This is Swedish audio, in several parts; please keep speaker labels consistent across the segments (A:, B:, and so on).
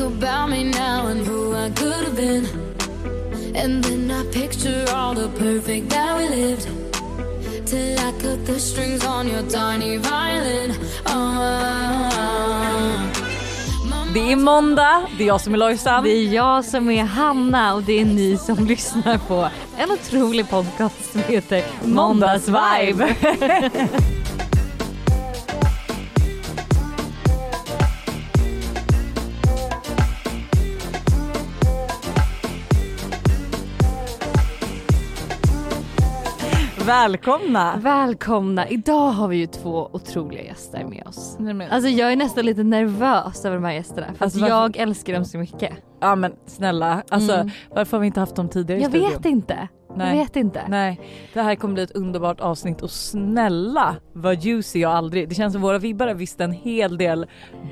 A: about me now and who I could have been. And then I picture all the perfect that we lived. Till I cut the strings on your tiny violin. Oh. My
B: Det är måndag, det är jag som är Lojsan.
C: Det är jag som är Hanna och det är ni som lyssnar på en otrolig podcast som heter Måndagsvibe.
B: Välkomna!
C: Välkomna! Idag har vi ju två otroliga gäster med oss.
B: Alltså,
C: Alltså jag är nästan lite nervös över de här gästerna för
B: Alltså,
C: att
B: varför-
C: jag älskar dem så mycket.
B: ja men snälla, alltså,
C: Mm.
B: varför har vi inte haft dem tidigare i
C: Jag
B: studion?
C: vet inte.
B: Nej.
C: Jag vet inte.
B: Nej, det här kommer bli ett underbart avsnitt och snälla vad juicy jag aldrig. Det känns som våra vibbare visste en hel del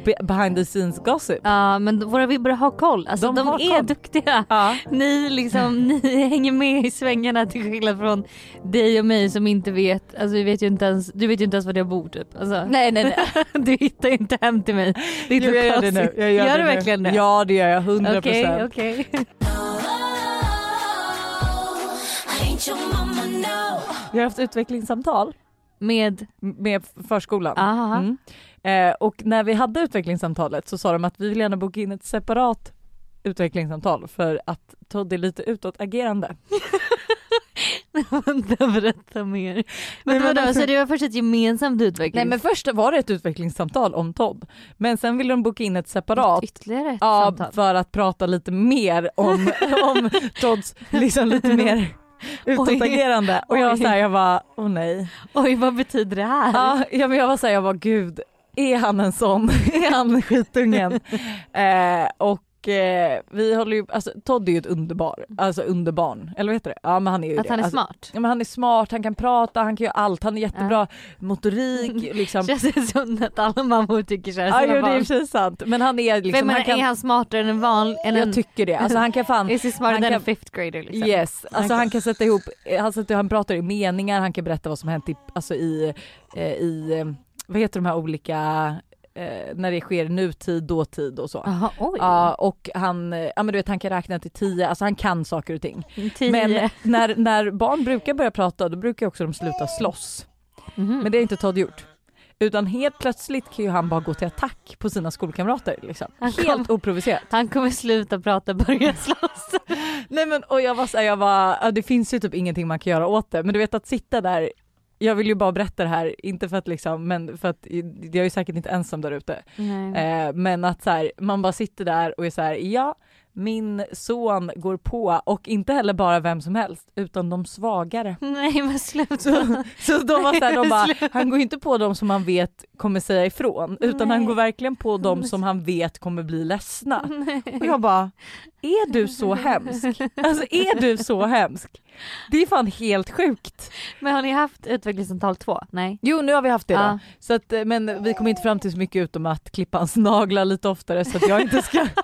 B: be- behind the scenes gossip.
C: Ja men våra vibbare har koll. Alltså
B: De
C: de,
B: har
C: är
B: koll.
C: duktiga.
B: Ja.
C: Ni, liksom, ni hänger med i svängarna till skillnad från dig och mig som inte vet, alltså vi vet ju inte ens, du vet ju inte ens var jag bor typ. Alltså,
B: Nej nej nej.
C: Du hittar ju inte hem till mig. Det är
B: Jo, jag gör det nu. Jag gör, nu.
C: du verkligen det?
B: Ja det gör jag, 100%.
C: Okej, okej.
A: oh, I ain't your mama, no.
B: Jag har haft utvecklingssamtal
C: Med,
B: med förskolan.
C: aha.
B: Mm. Eh, och när vi hade utvecklingssamtalet så sa de att vi vill gärna boka in ett separat utvecklingssamtal för att Todd är lite utåtagerande.
C: Vänta, berätta mer. Men
B: men
C: vadå,
B: varför-
C: så det var först ett gemensamt
B: Nej
C: utvecklings...
B: men först var det ett utvecklingssamtal om Todd men sen ville de boka in ett separat
C: Ytterligare ett
B: ja,
C: samtal.
B: för att prata lite mer om, om Todds liksom lite mer utåtagerande och jag var
C: Oj.
B: såhär jag bara åh nej.
C: Oj vad betyder det här?
B: Ja, ja men jag var såhär jag var gud är han en sån? är han skitungen? eh, och eh, vi håller ju, alltså Todd är ju ett underbar, alltså underbarn, eller vad heter det? Ja men han är ju
C: att
B: det.
C: han är
B: alltså,
C: smart.
B: Ja, men han är smart, han kan prata, han kan göra allt, han är jättebra motorik liksom.
C: Känns det som att alla mammor tycker såhär?
B: Ja
C: sina
B: jo, det är i
C: barn.
B: och för sig sant men han är liksom,
C: Vem är,
B: han kan,
C: är han smartare än en vanlig... än en-
B: jag tycker det, alltså han kan fan
C: Is he smarter
B: han
C: than
B: kan-
C: a fifth grader liksom?
B: Yes,
C: Han
B: alltså
C: kan-
B: han kan sätta ihop, eh, han, sätter, han pratar i meningar, han kan berätta vad som hänt i, alltså i, eh, i eh, vad heter de här olika, eh, när det sker nutid, dåtid och så.
C: Jaha oj.
B: Ja och han, eh, ja men du vet han kan räkna till tio, alltså han kan saker och ting.
C: Tio.
B: Men när, när barn brukar börja prata då brukar också de sluta slåss.
C: Mhm.
B: Men det har inte Todd gjort. Utan helt plötsligt kan ju han bara gå till attack på sina skolkamrater liksom.
C: Han kom-
B: Helt oprovocerat.
C: Han kommer sluta prata börja slåss.
B: Nej men och jag var såhär, jag var, ja, det finns ju typ ingenting man kan göra åt det men du vet att sitta där jag vill ju bara berätta det här, inte för att liksom, men för att jag är ju säkert inte ensam där ute.
C: Mm.
B: Eh, men att så här, man bara sitter där och är så här, ja min son går på och inte heller bara vem som helst utan de svagare.
C: Nej men
B: Så,
C: sluta.
B: så de var så här, de bara, han går ju inte på de som han vet kommer säga ifrån utan han
C: Nej.
B: går verkligen på de som han vet kommer bli ledsna. Och
C: Nej.
B: jag bara, är du så hemsk? Alltså är du så hemsk? Det är fan helt sjukt.
C: Men har ni haft utvecklingssamtal två? Nej.
B: Jo nu har vi haft det
C: Ja.
B: då. Så att, eh, men vi kom inte fram till så mycket utom att klippa hans naglar lite oftare så att jag inte ska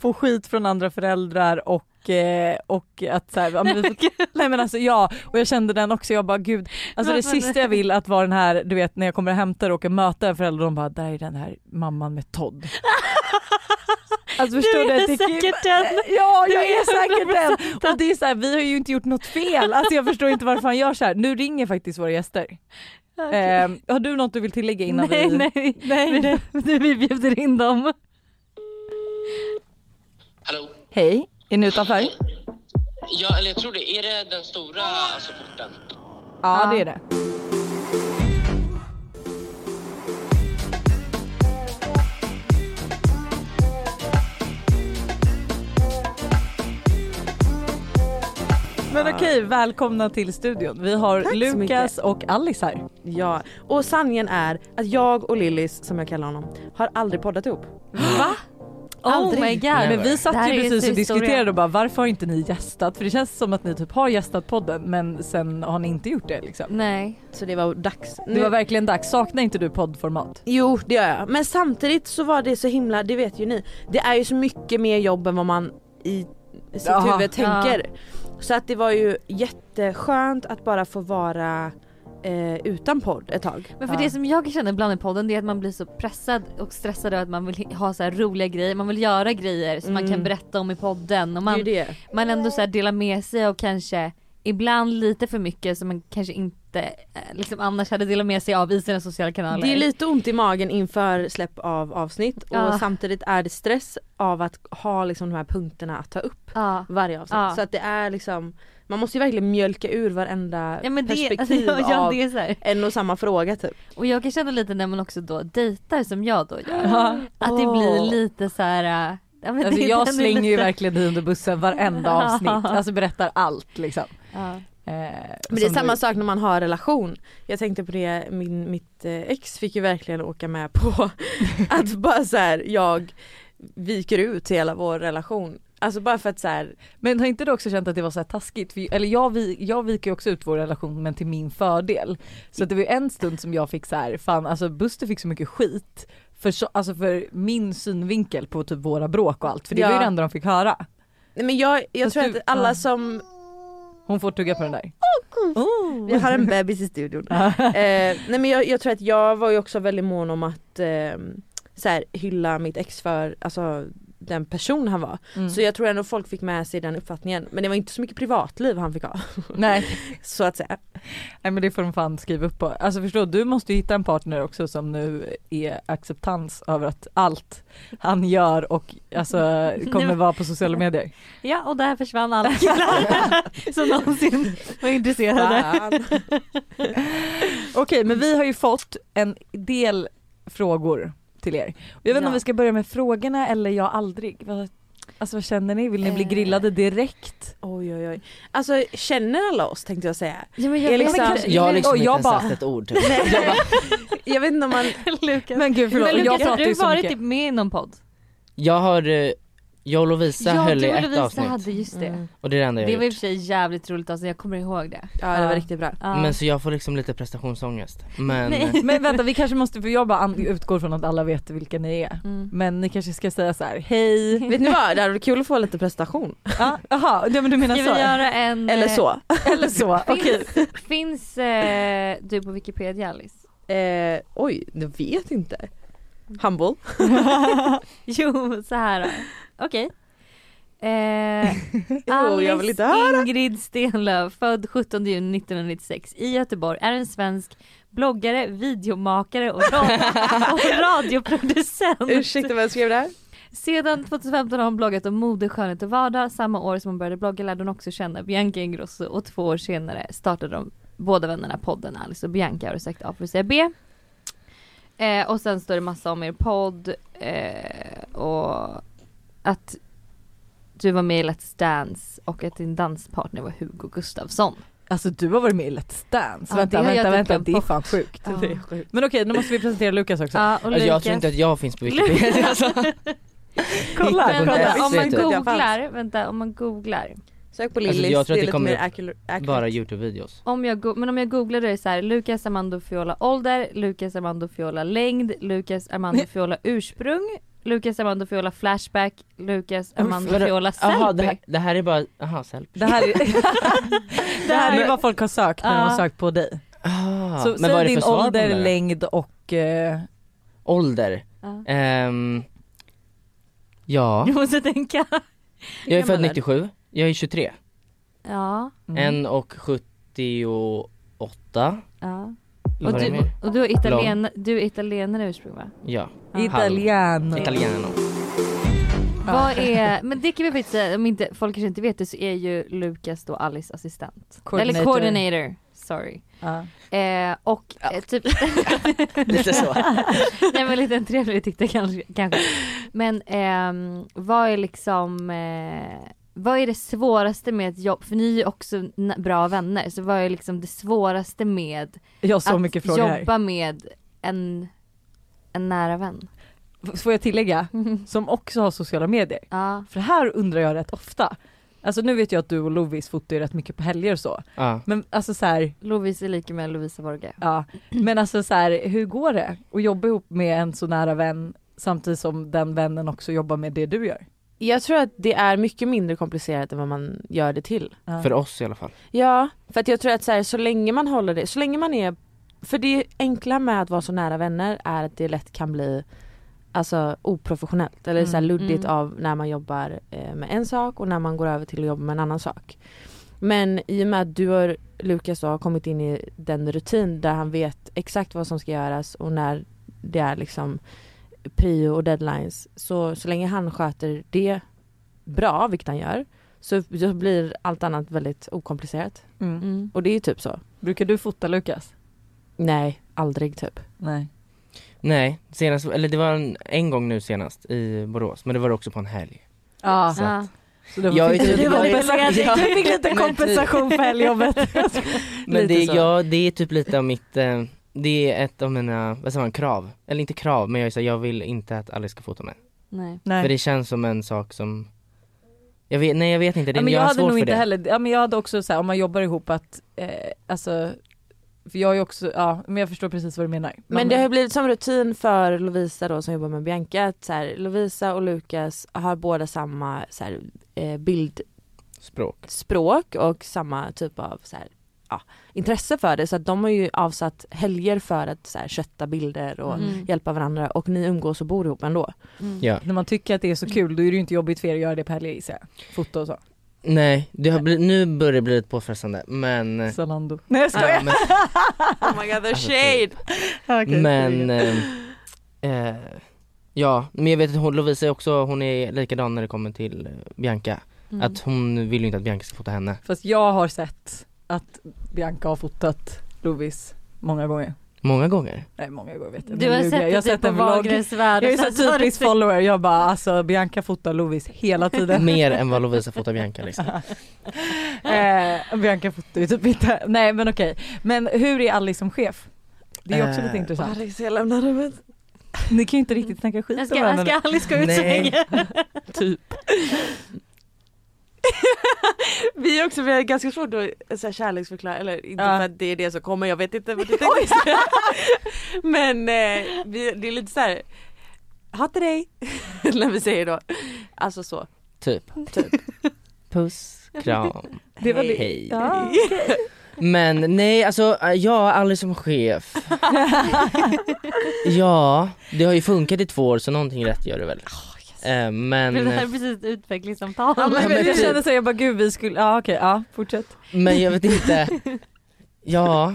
B: få skit från andra föräldrar och, eh, och att så här, ja, men vi får, nej men alltså ja och jag kände den också jag bara gud alltså det
C: Men-
B: sista jag vill att vara den här du vet när jag kommer och hämtar och åker möta en förälder och de bara där är den här mamman med Todd. Alltså förstår du?
C: du är
B: Det kan ju-
C: säkert den.
B: Ja
C: Du
B: jag
C: är
B: är säkert
C: 100%
B: den! Och det är så här, vi har ju inte gjort något fel, alltså jag förstår inte varför han gör så här. Nu ringer faktiskt våra gäster. Eh, har du något du vill tillägga innan
C: nej,
B: vi...
C: nej, nej, nej. Vi, vi bjuder in dem.
D: Hallå?
B: Hej, är ni utanför? Ja,
D: Ja, eller jag tror det. Är det den stora alltså, porten?
C: Ja.
B: det är det. Men okej, välkomna till studion. Vi har
E: Tack så
B: Lukas
E: mycket.
B: och Alice här.
E: Ja, och sanningen är att jag och Lillis, som jag kallar honom, har aldrig poddat ihop.
C: Va? Oh
E: Aldrig.
C: my god.
B: Nej, men vi
C: Det här
B: satt
C: är
B: ju precis
C: så
B: och
C: historia.
B: diskuterade och bara varför har inte ni gästat? För det känns som att ni typ har gästat podden men sen har ni inte gjort det liksom.
C: Nej.
E: Så det var dags.
B: Det var
E: Nu-
B: verkligen dags, saknar inte du poddformat?
E: Jo det gör jag, men samtidigt så var det så himla, det vet ju ni, det är ju så mycket mer jobb än vad man i sitt
B: Jaha.
E: huvud tänker. Så att det var ju jätteskönt att bara få vara eh, utan podd ett tag.
C: Men för
B: Ja.
C: det som jag känner ibland i podden det är att man blir så pressad och stressad över att man vill ha så här roliga grejer, man vill göra grejer som man
E: Mm.
C: kan berätta om i podden och man,
E: det är ju det.
C: man ändå så här delar med sig och kanske ibland lite för mycket som man kanske inte eh, liksom annars hade delat med sig av i sina sociala kanaler.
E: Det är lite ont i magen inför släpp av avsnitt och
C: Ja.
E: samtidigt är det stress av att ha liksom de här punkterna att ta upp
C: ja.
E: varje avsnitt.
C: Ja.
E: Så att det är liksom, man måste ju verkligen mjölka ur varenda
C: Ja men det, alltså,
E: perspektiv
C: ja, ja,
E: av
C: det är så här.
E: en och samma fråga typ.
C: Och jag kan känna lite när man också då dejtar som jag då gör.
B: Ja.
C: Att det blir
E: Åh.
C: lite så här. äh, Ja, men
B: Alltså
C: det-
B: jag
C: den är
B: slänger ju
C: lite-
B: verkligen dig under bussen varenda avsnitt, alltså berättar allt liksom.
C: Ja.
E: Men det är samma sak när man har relation. Jag tänkte på det, min, mitt eh, ex fick ju verkligen åka med på att bara så här, jag viker ut hela vår relation. Alltså bara för att så här,
B: Men har inte du också känt att det var så här taskigt? För, eller jag, vi- jag viker ju också ut vår relation men till min fördel. Så att det var ju en stund som jag fick så här, fan alltså Buster fick så mycket skit för, så, alltså för min synvinkel på typ våra bråk och allt. För det var ju
E: Ja.
B: det enda de fick höra.
E: nej men jag, jag
B: Fast
E: tror
B: du-
E: att alla
B: ja.
E: som,
B: Hon får tugga på den där. Oh.
E: vi har en bebis i studion. eh, nej men jag, jag tror att jag var ju också väldigt mån om att eh, så här, hylla mitt ex för, alltså den person han var.
B: Mm.
E: Så jag tror ändå folk fick med sig den uppfattningen. Men det var inte så mycket privatliv han fick ha.
B: Nej.
E: Så att säga.
B: Nej men det får de fan skriva upp på. Alltså förstå, du måste ju hitta en partner också som nu är acceptans över att allt han gör och alltså kommer
C: men-
B: vara på sociala medier.
C: ja och där försvann alla killar som någonsin var intresserade.
E: Fan.
B: Okej men vi har ju fått en del frågor till er. Och Jag vet inte
C: Ja.
B: om vi ska börja med frågorna eller jag aldrig. Vad, alltså vad känner ni? Vill ni bli
C: Eh.
B: grillade direkt?
E: Oj oj oj. Alltså känner alla oss tänkte jag säga.
C: Ja, men
E: Det är
C: vet
E: liksom-
C: inte.
F: Jag har liksom
B: Och
F: inte
B: jag
F: ens
B: bara-
F: sagt ett ord. Typ.
E: Jag vet inte om man,
C: Lukas.
B: Men gud förlåt, jag
C: Men Lukas har
B: pratar
C: du
B: ju så
C: varit
B: mycket.
C: typ med i någon podd?
F: Jag har, eh, jag och Lovisa höll i
C: du och
F: ett
C: Lovisa
F: avsnitt
C: hade just
E: Mm.
C: det.
F: och det är det enda jag
C: Det
F: har
C: var i och för
F: gjort.
C: sig jävligt roligt alltså, jag kommer ihåg det.
E: ja det
B: Ja.
E: var riktigt bra.
C: Ja.
F: Men Mm. så jag får liksom lite prestationsångest. Men
C: Nej.
B: Men vänta vi kanske måste, för jag bara an- utgår från att alla vet vilka ni är.
C: Mm.
B: Men ni kanske ska säga så här: hej.
E: Vet ni vad, det hade varit kul att få lite prestation.
B: Ja, Jaha, ja, men du menar
C: Ska vi
B: så?
C: göra en... eh,
E: Eller så.
B: Eller så, okej.
C: Finns, finns eh, du på Wikipedia Alice?
E: Eh, oj, jag vet inte. Humble.
C: Jo, så här då. Okej. Eh,
E: Jo, jag vill
C: Alice
E: inte höra.
C: Ingrid Stenlöf, född 17 juni 1996 i Göteborg, är en svensk bloggare, videomakare och, ra- och radioproducent.
E: Ursäkta vem skrev det här?
C: Sedan 2015 har hon bloggat om mode, skönhet och vardag. Samma år som hon började blogga lärde hon också känna Bianca Ingrosso och två år senare startade de båda vännerna podden Alice och Bianca har du sagt A för att säga B. Eh, och sen står det massa om er podd eh, och att du var med i Let's Dance och att din danspartner var Hugo Gustafsson.
B: Alltså du har varit med i Let's Dance.
C: Ja, det
B: vänta
C: har jag
B: vänta,
C: typ
B: vänta
C: glömt
B: det är
C: bort.
B: fan sjukt.
C: Ja.
B: Det är sjukt. Men okej nu måste vi presentera Lukas också.
C: Ja, och
F: alltså, jag tror
C: Lukas-
F: inte att jag finns på Wikipedia. alltså.
B: Kolla,
F: Hittar
C: Men
F: på
C: vänta,
F: det.
C: om man
F: Visst, vet du.
E: Jag fanns.
C: googlar, vänta om man googlar.
E: Sök på
F: Alltså, jag
E: Lillis,
F: tror att
E: det är
F: det
E: lite
F: kommer
E: mer
F: upp
E: accurate. accurate.
F: Bara Youtube-videos.
C: Om jag go- men om jag googlar då är det så här, Lucas Armando Fiola ålder, Lucas Armando Fiola längd, Lucas Armando Fiola ursprung, Lucas Armando Fiola flashback, Lucas Armando
F: vadå?
C: Fiola
F: Jaha det,
C: selfie.
F: här- det här är bara, jaha selfie.
B: Det här, är, det här är
C: Men-
B: vad folk har sökt när de
C: Ja.
B: har sökt på dig.
F: Ah,
B: Så säg
F: men vad är det för
B: din
F: svar på
B: ålder,
F: den där?
B: längd och... eh,
F: Ålder?
C: Ja.
F: Ehm, ja,
C: Du måste tänka.
F: jag är
C: gammal
F: född
C: är
F: 97, jag är 23.
C: Ja,
B: mm.
F: En och 78.
C: ja. Och
F: Vad är det
C: du,
F: mer?
C: och du, är italien, du är italienare ursprung va?
F: Ja,
B: Italiano.
F: italienare.
C: Vad är, men det kan vi faktiskt säga, om inte, folk kanske inte vet det så är ju Lucas då Alice assistent. Eller coordinator, sorry.
B: Ja.
C: Eh, och eh, typ
F: Lite så.
C: Nej men lite en trevlig titel kanske. kanske. Men ehm, vad är liksom, eh, vad är det svåraste med ett jobb? För ni är ju också na- bra vänner, så vad är liksom det svåraste med
B: Jag har så
C: att
B: mycket frågor här.
C: jobba med en, en nära vän?
B: F- Får jag tillägga? Som också har sociala medier.
C: Ja.
B: För här undrar jag rätt ofta. Alltså nu vet jag att du och Lovis fotar ju rätt mycket på helger och så.
F: Ja.
B: Men alltså så här,
C: Lovisa är lika med Lovisa Borge.
B: Ja, men alltså så här, hur går det att jobba ihop med en så nära vän samtidigt som den vännen också jobbar med det du gör?
E: jag tror att det är mycket mindre komplicerat än vad man gör det till.
B: Ja.
F: För oss i alla fall.
E: Ja, för att jag tror att så, här, så länge man håller det, så länge man är För det enkla med att vara så nära vänner är att det lätt kan bli Alltså oprofessionellt eller så här
B: Mm,
E: luddigt
C: mm.
E: av när man jobbar eh, med en sak och när man går över till att jobba med en annan sak. Men i och med att du har Lukas då, har kommit in i den rutin där han vet exakt vad som ska göras och när det är liksom prio och deadlines. Så, så länge han sköter det bra, vilket han gör, så, så blir allt annat väldigt okomplicerat.
B: Mm.
C: Mm.
E: Och det är ju typ så.
B: Brukar du fota Lukas?
E: Nej, aldrig typ.
B: Nej.
F: Nej, senast, eller det var en, en gång nu senast i Borås, men det var också på en helg.
B: Ja,
F: Så att,
B: så det var,
F: Jag är
B: det
F: typ-
B: var
F: jag är-
B: kompensationen. Du fick lite
F: Men typ-
B: kompensation för helgjobbet.
F: men
B: Lite
F: det,
B: så.
F: ja, det är typ lite av mitt, eh, det är ett av mina, vad säger man, krav. Eller inte krav, men jag, är så här, jag vill inte att Alice ska fota mig.
C: Nej.
F: För
B: Nej.
F: det känns som en sak som, jag vet, nej jag vet inte, det,
B: Ja, men
F: jag,
B: jag
F: har
B: hade
F: svårt
B: nog
F: för
B: inte
F: det.
B: heller, ja, men jag hade också så här, om man jobbar ihop att, eh, alltså, för jag är också, ja men jag förstår precis vad du menar. Man,
E: Men det har ju blivit som rutin för Lovisa då som jobbar med Bianca att så här, Lovisa och Lukas har båda samma så här, eh,
F: Språk.
E: bildspråk och samma typ av så här, ja, intresse för det så att de har ju avsatt helger för att så här, kötta bilder och
C: Mm.
E: hjälpa varandra och ni umgås och bor ihop ändå.
C: Mm.
F: Ja.
B: När man tycker att det är så kul då är det ju inte jobbigt för er att göra det på helger gissar jag. Foto och så.
F: Nej, det har blivit, nu börjar det bli lite påfrestande men
B: Zalando. Nej jag skojar.
F: Ja, men,
E: Oh my god the
F: Alltså, shade.
B: typ. Okej,
F: men
B: sorry.
F: eh, eh, ja, men jag vet att hon, Lovisa är också, hon är likadan när det kommer till eh, Bianca.
C: Mm.
F: Att hon vill ju inte att Bianca ska fota henne.
B: Fast jag har sett att Bianca har fotat Lovis många gånger. många
F: Många gånger.
B: Nej många gånger vet jag
C: Du har
B: Nu ljuger jag.
C: sett
B: jag har sett
C: det typ på
B: en vlogg.
C: Wahlgrens värld.
B: Jag är
C: och sen
B: så
C: har du
B: typisk typ follower, jag bara alltså Bianca fotar Lovis hela tiden.
F: Mer än vad Lovisa fotar Bianca liksom.
B: eh, Bianca fotar ju typ inte, nej men okej. Men hur är Alice som chef? Det är också
F: Eh,
B: lite intressant.
E: jag lämnar rummet.
B: Ni kan ju inte riktigt snacka skit
C: Jag
B: om
C: ska, jag
B: varandra.
C: ska Alice gå ut så
F: Nej.
C: länge.
E: Vi också, vi har ganska svårt att eh, så här, kärleksförklara, eller inte
B: Ja.
E: för att det är det som kommer, jag vet inte vad du tänkte Men eh, vi, det är lite så här. ha till dig, när vi säger då. Alltså så.
F: Typ.
E: Typ.
F: Puss, kram,
B: Det var det.
F: hej.
B: Ja.
F: Men nej alltså, eh, ja Alice som chef. Ja, det har ju funkat i två år så någonting rätt gör du väl. Eh, men,
C: Det här är precis ett utvecklingssamtal.
B: Ja, men,
F: men
B: jag
F: typ.
B: kände så här, jag bara gud vi skulle, ja okej, ja fortsätt.
F: men jag vet inte. Ja.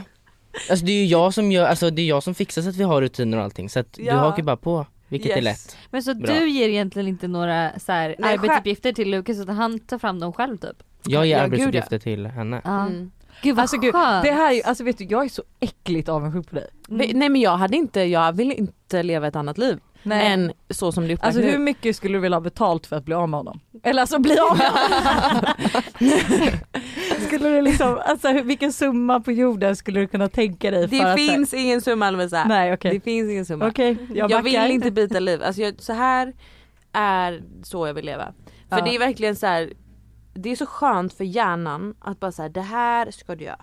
F: Alltså det är ju jag som gör, alltså det är jag som fixar så att vi har rutiner och allting så att
E: Ja.
F: du hakar bara på, vilket är
E: Yes.
F: lätt.
C: Men så
F: Bra.
C: du ger egentligen inte några så här,
E: Nej,
C: arbetsuppgifter till Lukas utan han tar fram dem själv typ?
F: Jag ger
E: Ja, gud, ja.
F: arbetsuppgifter till henne.
C: Ja.
E: Mm.
C: Gud vad
B: Alltså gud,
C: skönt! Mm.
B: det här, är ju- alltså vet du jag är så äckligt avundsjuk på dig.
E: Vi- Nej men jag hade inte, jag vill inte leva ett annat liv än så som det är upplagt
B: Alltså
E: nu.
B: hur mycket skulle du vilja ha betalt för att bli av med honom? Eller alltså bli av med Skulle du liksom, alltså hur- vilken summa på jorden skulle du kunna tänka dig för
E: Det
B: att
E: finns ingen summa Lovisa.
B: Nej okej,
E: Det finns ingen summa.
B: okej jag,
E: Jag,
B: backar.
E: vill inte byta liv, alltså jag, så här är så jag vill leva. För
B: Ja.
E: det är verkligen så här. det är så skönt för hjärnan att bara säga det här ska du göra.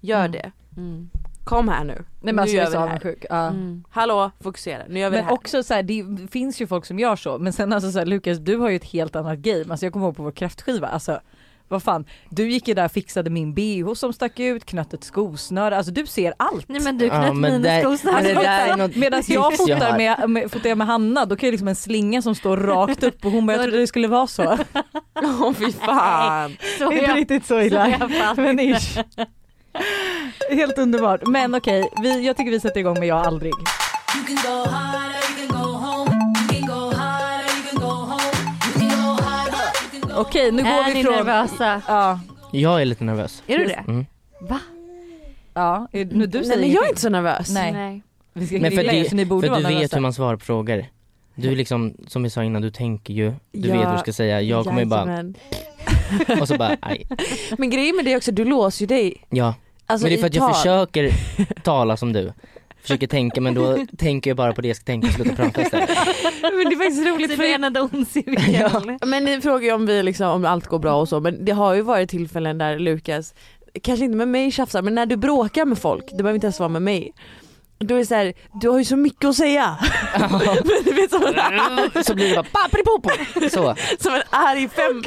E: Gör
B: Mm.
E: det,
C: Mm.
E: kom här nu.
B: Nej men
E: nu
B: alltså jag
E: gör
B: är
E: vi
B: så
E: det här.
B: avundsjuk. Ja.
C: Mm.
E: Hallå, fokusera, nu gör vi det
B: Men
E: här.
B: också så här, det finns ju folk som gör så men sen alltså så här, Lukas du har ju ett helt annat game, alltså jag kommer ihåg på vår kräftskiva, alltså vad fan, du gick ju där och fixade min bh som stack ut, knöt ett skosnöre, alltså du ser allt. Alltså,
C: Nej men du
F: Ja,
C: knöt
F: men
C: mina
F: där-
C: skor
F: men det
E: alltså,
C: snabbt.
F: där är något
B: Medan jag
F: tips jag
B: fotar
F: har.
B: med, med, fotar jag med Hanna då kan ju liksom en slinga som står rakt upp och hon bara jag trodde det skulle vara så.
E: Åh fy fan.
C: Så
B: Det är inte
C: jag,
B: riktigt så
C: så
B: illa.
C: jag fattar.
B: Men ish. Helt underbart. Men okej, vi, jag tycker vi sätter igång med Jag aldrig.
A: You can go hard or you can go home. You can go hard or you can go home. You can go hard or you can go
B: Okej, nu går
C: Är
B: vi
C: ni
B: från...
C: nervösa?
B: Ja,
F: Jag är lite nervös.
C: Är du det?
F: Mm.
C: Va?
B: ja. är- Nu, du säger
E: Nej men jag är inte så nervös.
B: Nej. Vi ska
F: Men för,
B: grilla er
F: det,
B: så ni borde
F: för
B: vara
F: du vet
B: nervösa.
F: hur man svarar på frågor. Du liksom, som vi sa innan, du tänker ju, du vet
E: Ja,
F: vad du ska säga. Jag kommer ju bara,
E: Jajamän.
F: och så bara, aj.
E: Men grejen med det är också, du låser ju dig.
F: Ja.
E: Alltså
F: men det är
E: i
F: för att jag
E: tal.
F: försöker tala som du. Försöker tänka men då tänker jag bara på det jag ska tänka och slutar prata istället.
C: Men det är faktiskt roligt för enade ond cirkel.
E: Men ni frågar ju om, vi liksom, om allt går bra och så men det har ju varit tillfällen där Lukas, kanske inte med mig tjafsar men när du bråkar med folk, det behöver inte ens vara med mig. Då är det så här, du har ju så mycket att säga. Men du vet som en,
F: så blir det bara pappripopo. Så.
E: som en arg fem...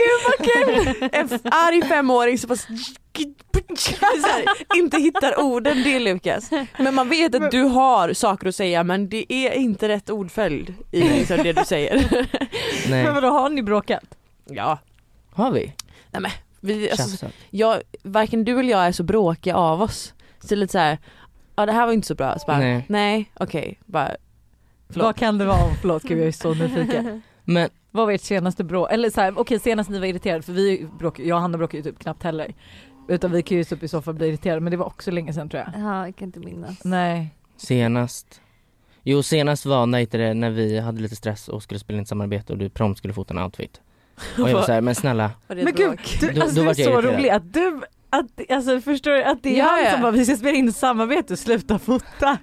E: En f- arg femåring som bara så här, inte hittar orden det är Lukas. Men man vet att du har saker att säga men det är inte rätt ordföljd i liksom det du säger.
B: Men
F: Nej.
B: vadå har ni bråkat?
E: Ja,
F: Har vi?
E: vi, alltså,
F: Tjafsat.
E: jag, varken du eller jag är så bråkiga av oss. Så det är lite så här, ja det här var inte så bra. Så bara,
F: Nej.
E: nej, okej, bara Förlåt.
B: Vad kan det vara? Förlåt gud jag är så nyfiken.
F: Men
B: Vad var ert senaste bråk? Eller så här, okej senast ni var irriterade för vi bråk, jag och Hanna bråkar ju typ knappt heller. Utan vi kan ju upp i soffan och bli irriterade men det var också länge sedan tror jag.
C: Ja, jag kan inte minnas.
B: Nej.
F: senast. Jo senast var när, heter det, när vi hade lite stress och skulle spela in ett samarbete och du prompt skulle fota en outfit. Och jag var såhär, men snälla.
E: var det
B: Men
E: ett
B: gud,
E: bråk?
B: du,
F: Då-
B: alltså, du
F: då
B: är
F: vart jag
B: så
F: irriterad.
B: rolig att du, att, alltså förstår du att det är
E: Ja,
B: han
E: ja.
B: som bara vi ska spela in ett samarbete och sluta fota.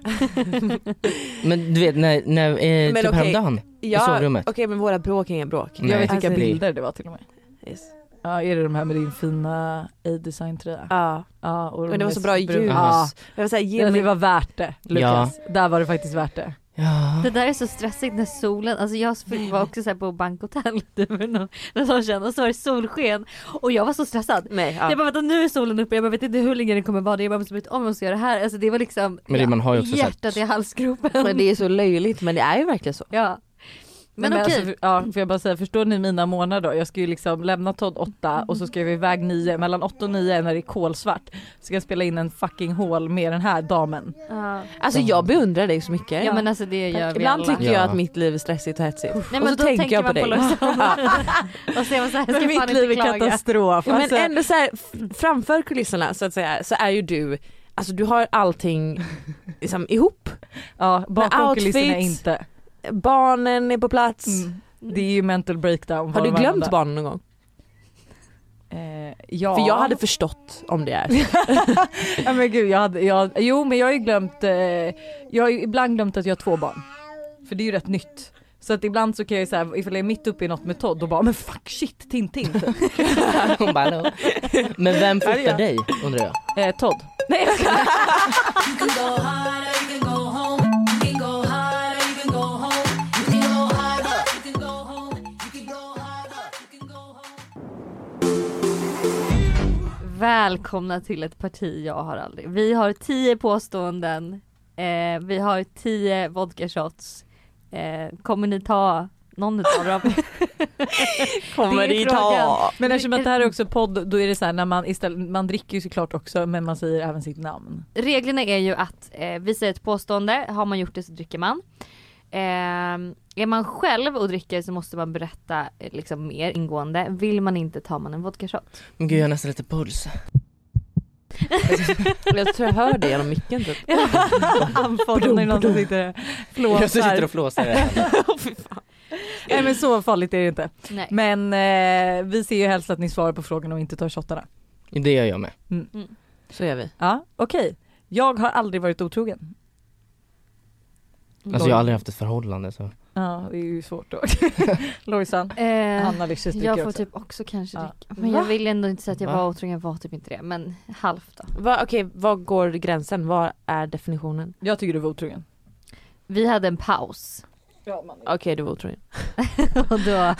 F: Men du vet när, när eh,
E: Men
F: typ
E: okej.
F: häromdagen.
E: Ja,
F: sovrummet.
E: Okej men våra bråk är inga bråk.
F: Nej.
B: Jag vet vilka
E: Alltså, det-
B: bilder det var till och med.
E: Yes.
B: Ja är det de här med din fina A-design tröja?
E: Ja,
B: Ja, och de
E: men det var
B: är
E: så bra ljus.
B: bruna.
F: Aha.
E: Ja. Jag var såhär, ge
B: Ja, det
E: mig...
B: var värt det Lukas. Där var det faktiskt värt det.
F: Ja.
C: Det där är så stressigt när solen, alltså jag var också så här på bankhotell typ för någon någon dag sedan och så var det solsken och jag var så stressad.
E: Nej,
C: Jag
E: ja.
C: bara vänta nu är solen uppe, jag bara vet inte hur länge den kommer vara det, jag bara måste byta om jag måste göra det här. Alltså det var liksom
F: Men det, man har ju också
C: hjärtat
F: sett.
C: i halsgropen.
E: Men det är så löjligt men det är ju verkligen så.
C: Ja. Men,
B: Nej,
C: okej,
B: alltså, för- ja, får jag bara säga, förstår ni mina månader då? Jag ska ju liksom lämna Todd 8 och så ska jag iväg 9, mellan 8 och 9 när det är kolsvart. Så ska jag spela in en fucking hål med den här damen.
C: ja.
E: Alltså jag beundrar dig så mycket.
C: ja men alltså det gör vi
E: Ibland
C: alla.
E: tycker
F: Ja.
E: jag att mitt liv är stressigt och hetsigt.
C: Nej,
E: och
C: men då
E: så tänker jag på
C: man
E: dig.
C: Lasse. och så är man så här, jag ska fan
B: Mitt liv
C: inte
B: är
C: klaga.
B: katastrof.
E: Ja, men
B: alltså,
E: ändå så här, f- framför kulisserna så att säga så är ju du, alltså du har allting liksom, ihop.
B: ja, bakom
E: outfits-
B: kulisserna inte.
E: Barnen är på plats.
B: Mm. Det är ju mental breakdown.
E: Har
B: var
E: du
B: och
E: glömt
B: varannan
E: barnen någon gång?
B: dag. Eh, ja.
E: För jag hade förstått om det är så.
B: ja, men gud, jag hade, jag, jo men jag har ju glömt, eh, jag har ju ibland glömt att jag har två barn. För det är ju rätt nytt. Så att ibland så kan jag ju såhär, ifall jag är mitt uppe i något med Todd då bara men fuck shit Tintin. typ.
F: Hon bara, "Hallå." Men vem
B: Ja, det gör
F: fotar dig undrar jag?
B: eh, Todd. Nej jag skojar.
A: You can go hard or you can go home. You can go hard or you can go home. You can go hard or you can go home. You can go hard or you can go home.
C: Välkomna till ett parti jag har aldrig. Vi har 10 påståenden, eh, vi har 10 vodka shots. Eh, kommer ni ta någon utav dem?
E: Kommer
C: Det är
E: det ta?
B: Men eftersom att det här är också podd då är det såhär när man istället, man dricker ju såklart också men man säger även sitt namn.
C: Reglerna är ju att eh, vi säger ett påstående, har man gjort det så dricker man. Eh, är man själv och dricker så måste man berätta eh, liksom mer ingående. Vill man inte tar man en vodka shot.
F: Men gud jag har nästan lite puls.
E: Jag tror jag hör det genom micken typ.
B: Podden är någon som sitter och
F: Jag sitter
B: flåsar.
F: och flåsar. här.
B: Nej men så farligt är det inte.
C: Nej.
B: Men eh, vi ser ju helst att ni svarar på frågorna och inte tar shottarna.
F: Det gör jag med. Alltså,
E: Så gör vi.
B: Ja okej. Jag har aldrig varit otrogen.
F: Alltså jag har aldrig haft ett förhållande så.
B: Ja det är ju svårt då. Lojsan,
C: Eh,
B: Hanna lyckas dricka
C: jag får
B: också.
C: typ också kanske
B: Ja.
C: dricka. Men jag vill ändå inte säga att jag
F: Va?
C: var otrogen, jag var typ inte det. Men halvt då.
E: Va, Okej, var går gränsen? Vad är definitionen?
B: Jag tycker du var otrogen.
C: Vi hade en paus
E: Okej du var otrogen.
C: och då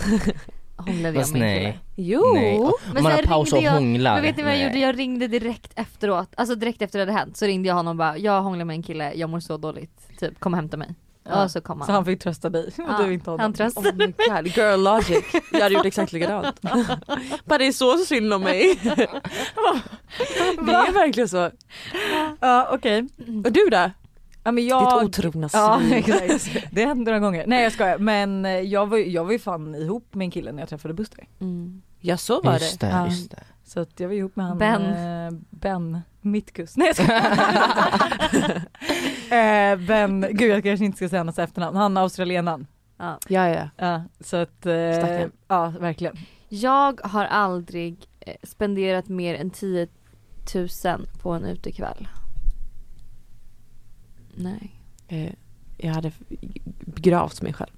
C: hånglade jag
F: Fast
C: min
F: nej.
C: kille.
E: Jo!
F: nej. Om
C: Men
F: Man har
C: sen
F: paus och
C: ringde jag-
F: hånglar.
C: Men vet ni vad jag
F: Nej.
C: gjorde? Jag ringde direkt efteråt, alltså direkt efter det hade hänt så ringde jag honom och bara jag hånglar med en kille, jag mår så dåligt, typ kom och hämta mig.
B: Ja.
C: Och så kom han.
B: Så han fick trösta dig och
C: Ja,
B: du inte honom.
C: han tröstade.
E: Oh my god, girl logic. Jag hade gjort exakt likadant. Bara det är så synd om mig. Det är verkligen så.
B: Ja okej.
E: Och du då?
B: Ja men
E: Ditt
B: jag...
E: otrogna
B: Ja
E: svin.
B: exakt. Det hände några gånger. Nej jag skojar men eh, jag var, ju- jag var ju fan ihop med en kille när jag träffade Buster.
C: Mm.
E: Ja så var det.
F: Just det,
B: Ja.
F: just det.
B: Så att jag var ihop med han
C: Ben.
B: eh, ben Mittkus. Nej jag skojar. eh, ben, gud jag kanske inte ska säga hans efternamn. Han är australienan.
E: Ja ja.
B: Ja så att, eh,
E: Stackarn.
B: ja verkligen.
C: Jag har aldrig eh, spenderat mer än 10 000 på en utekväll. Nej.
E: Eh, Jag hade begravt mig själv.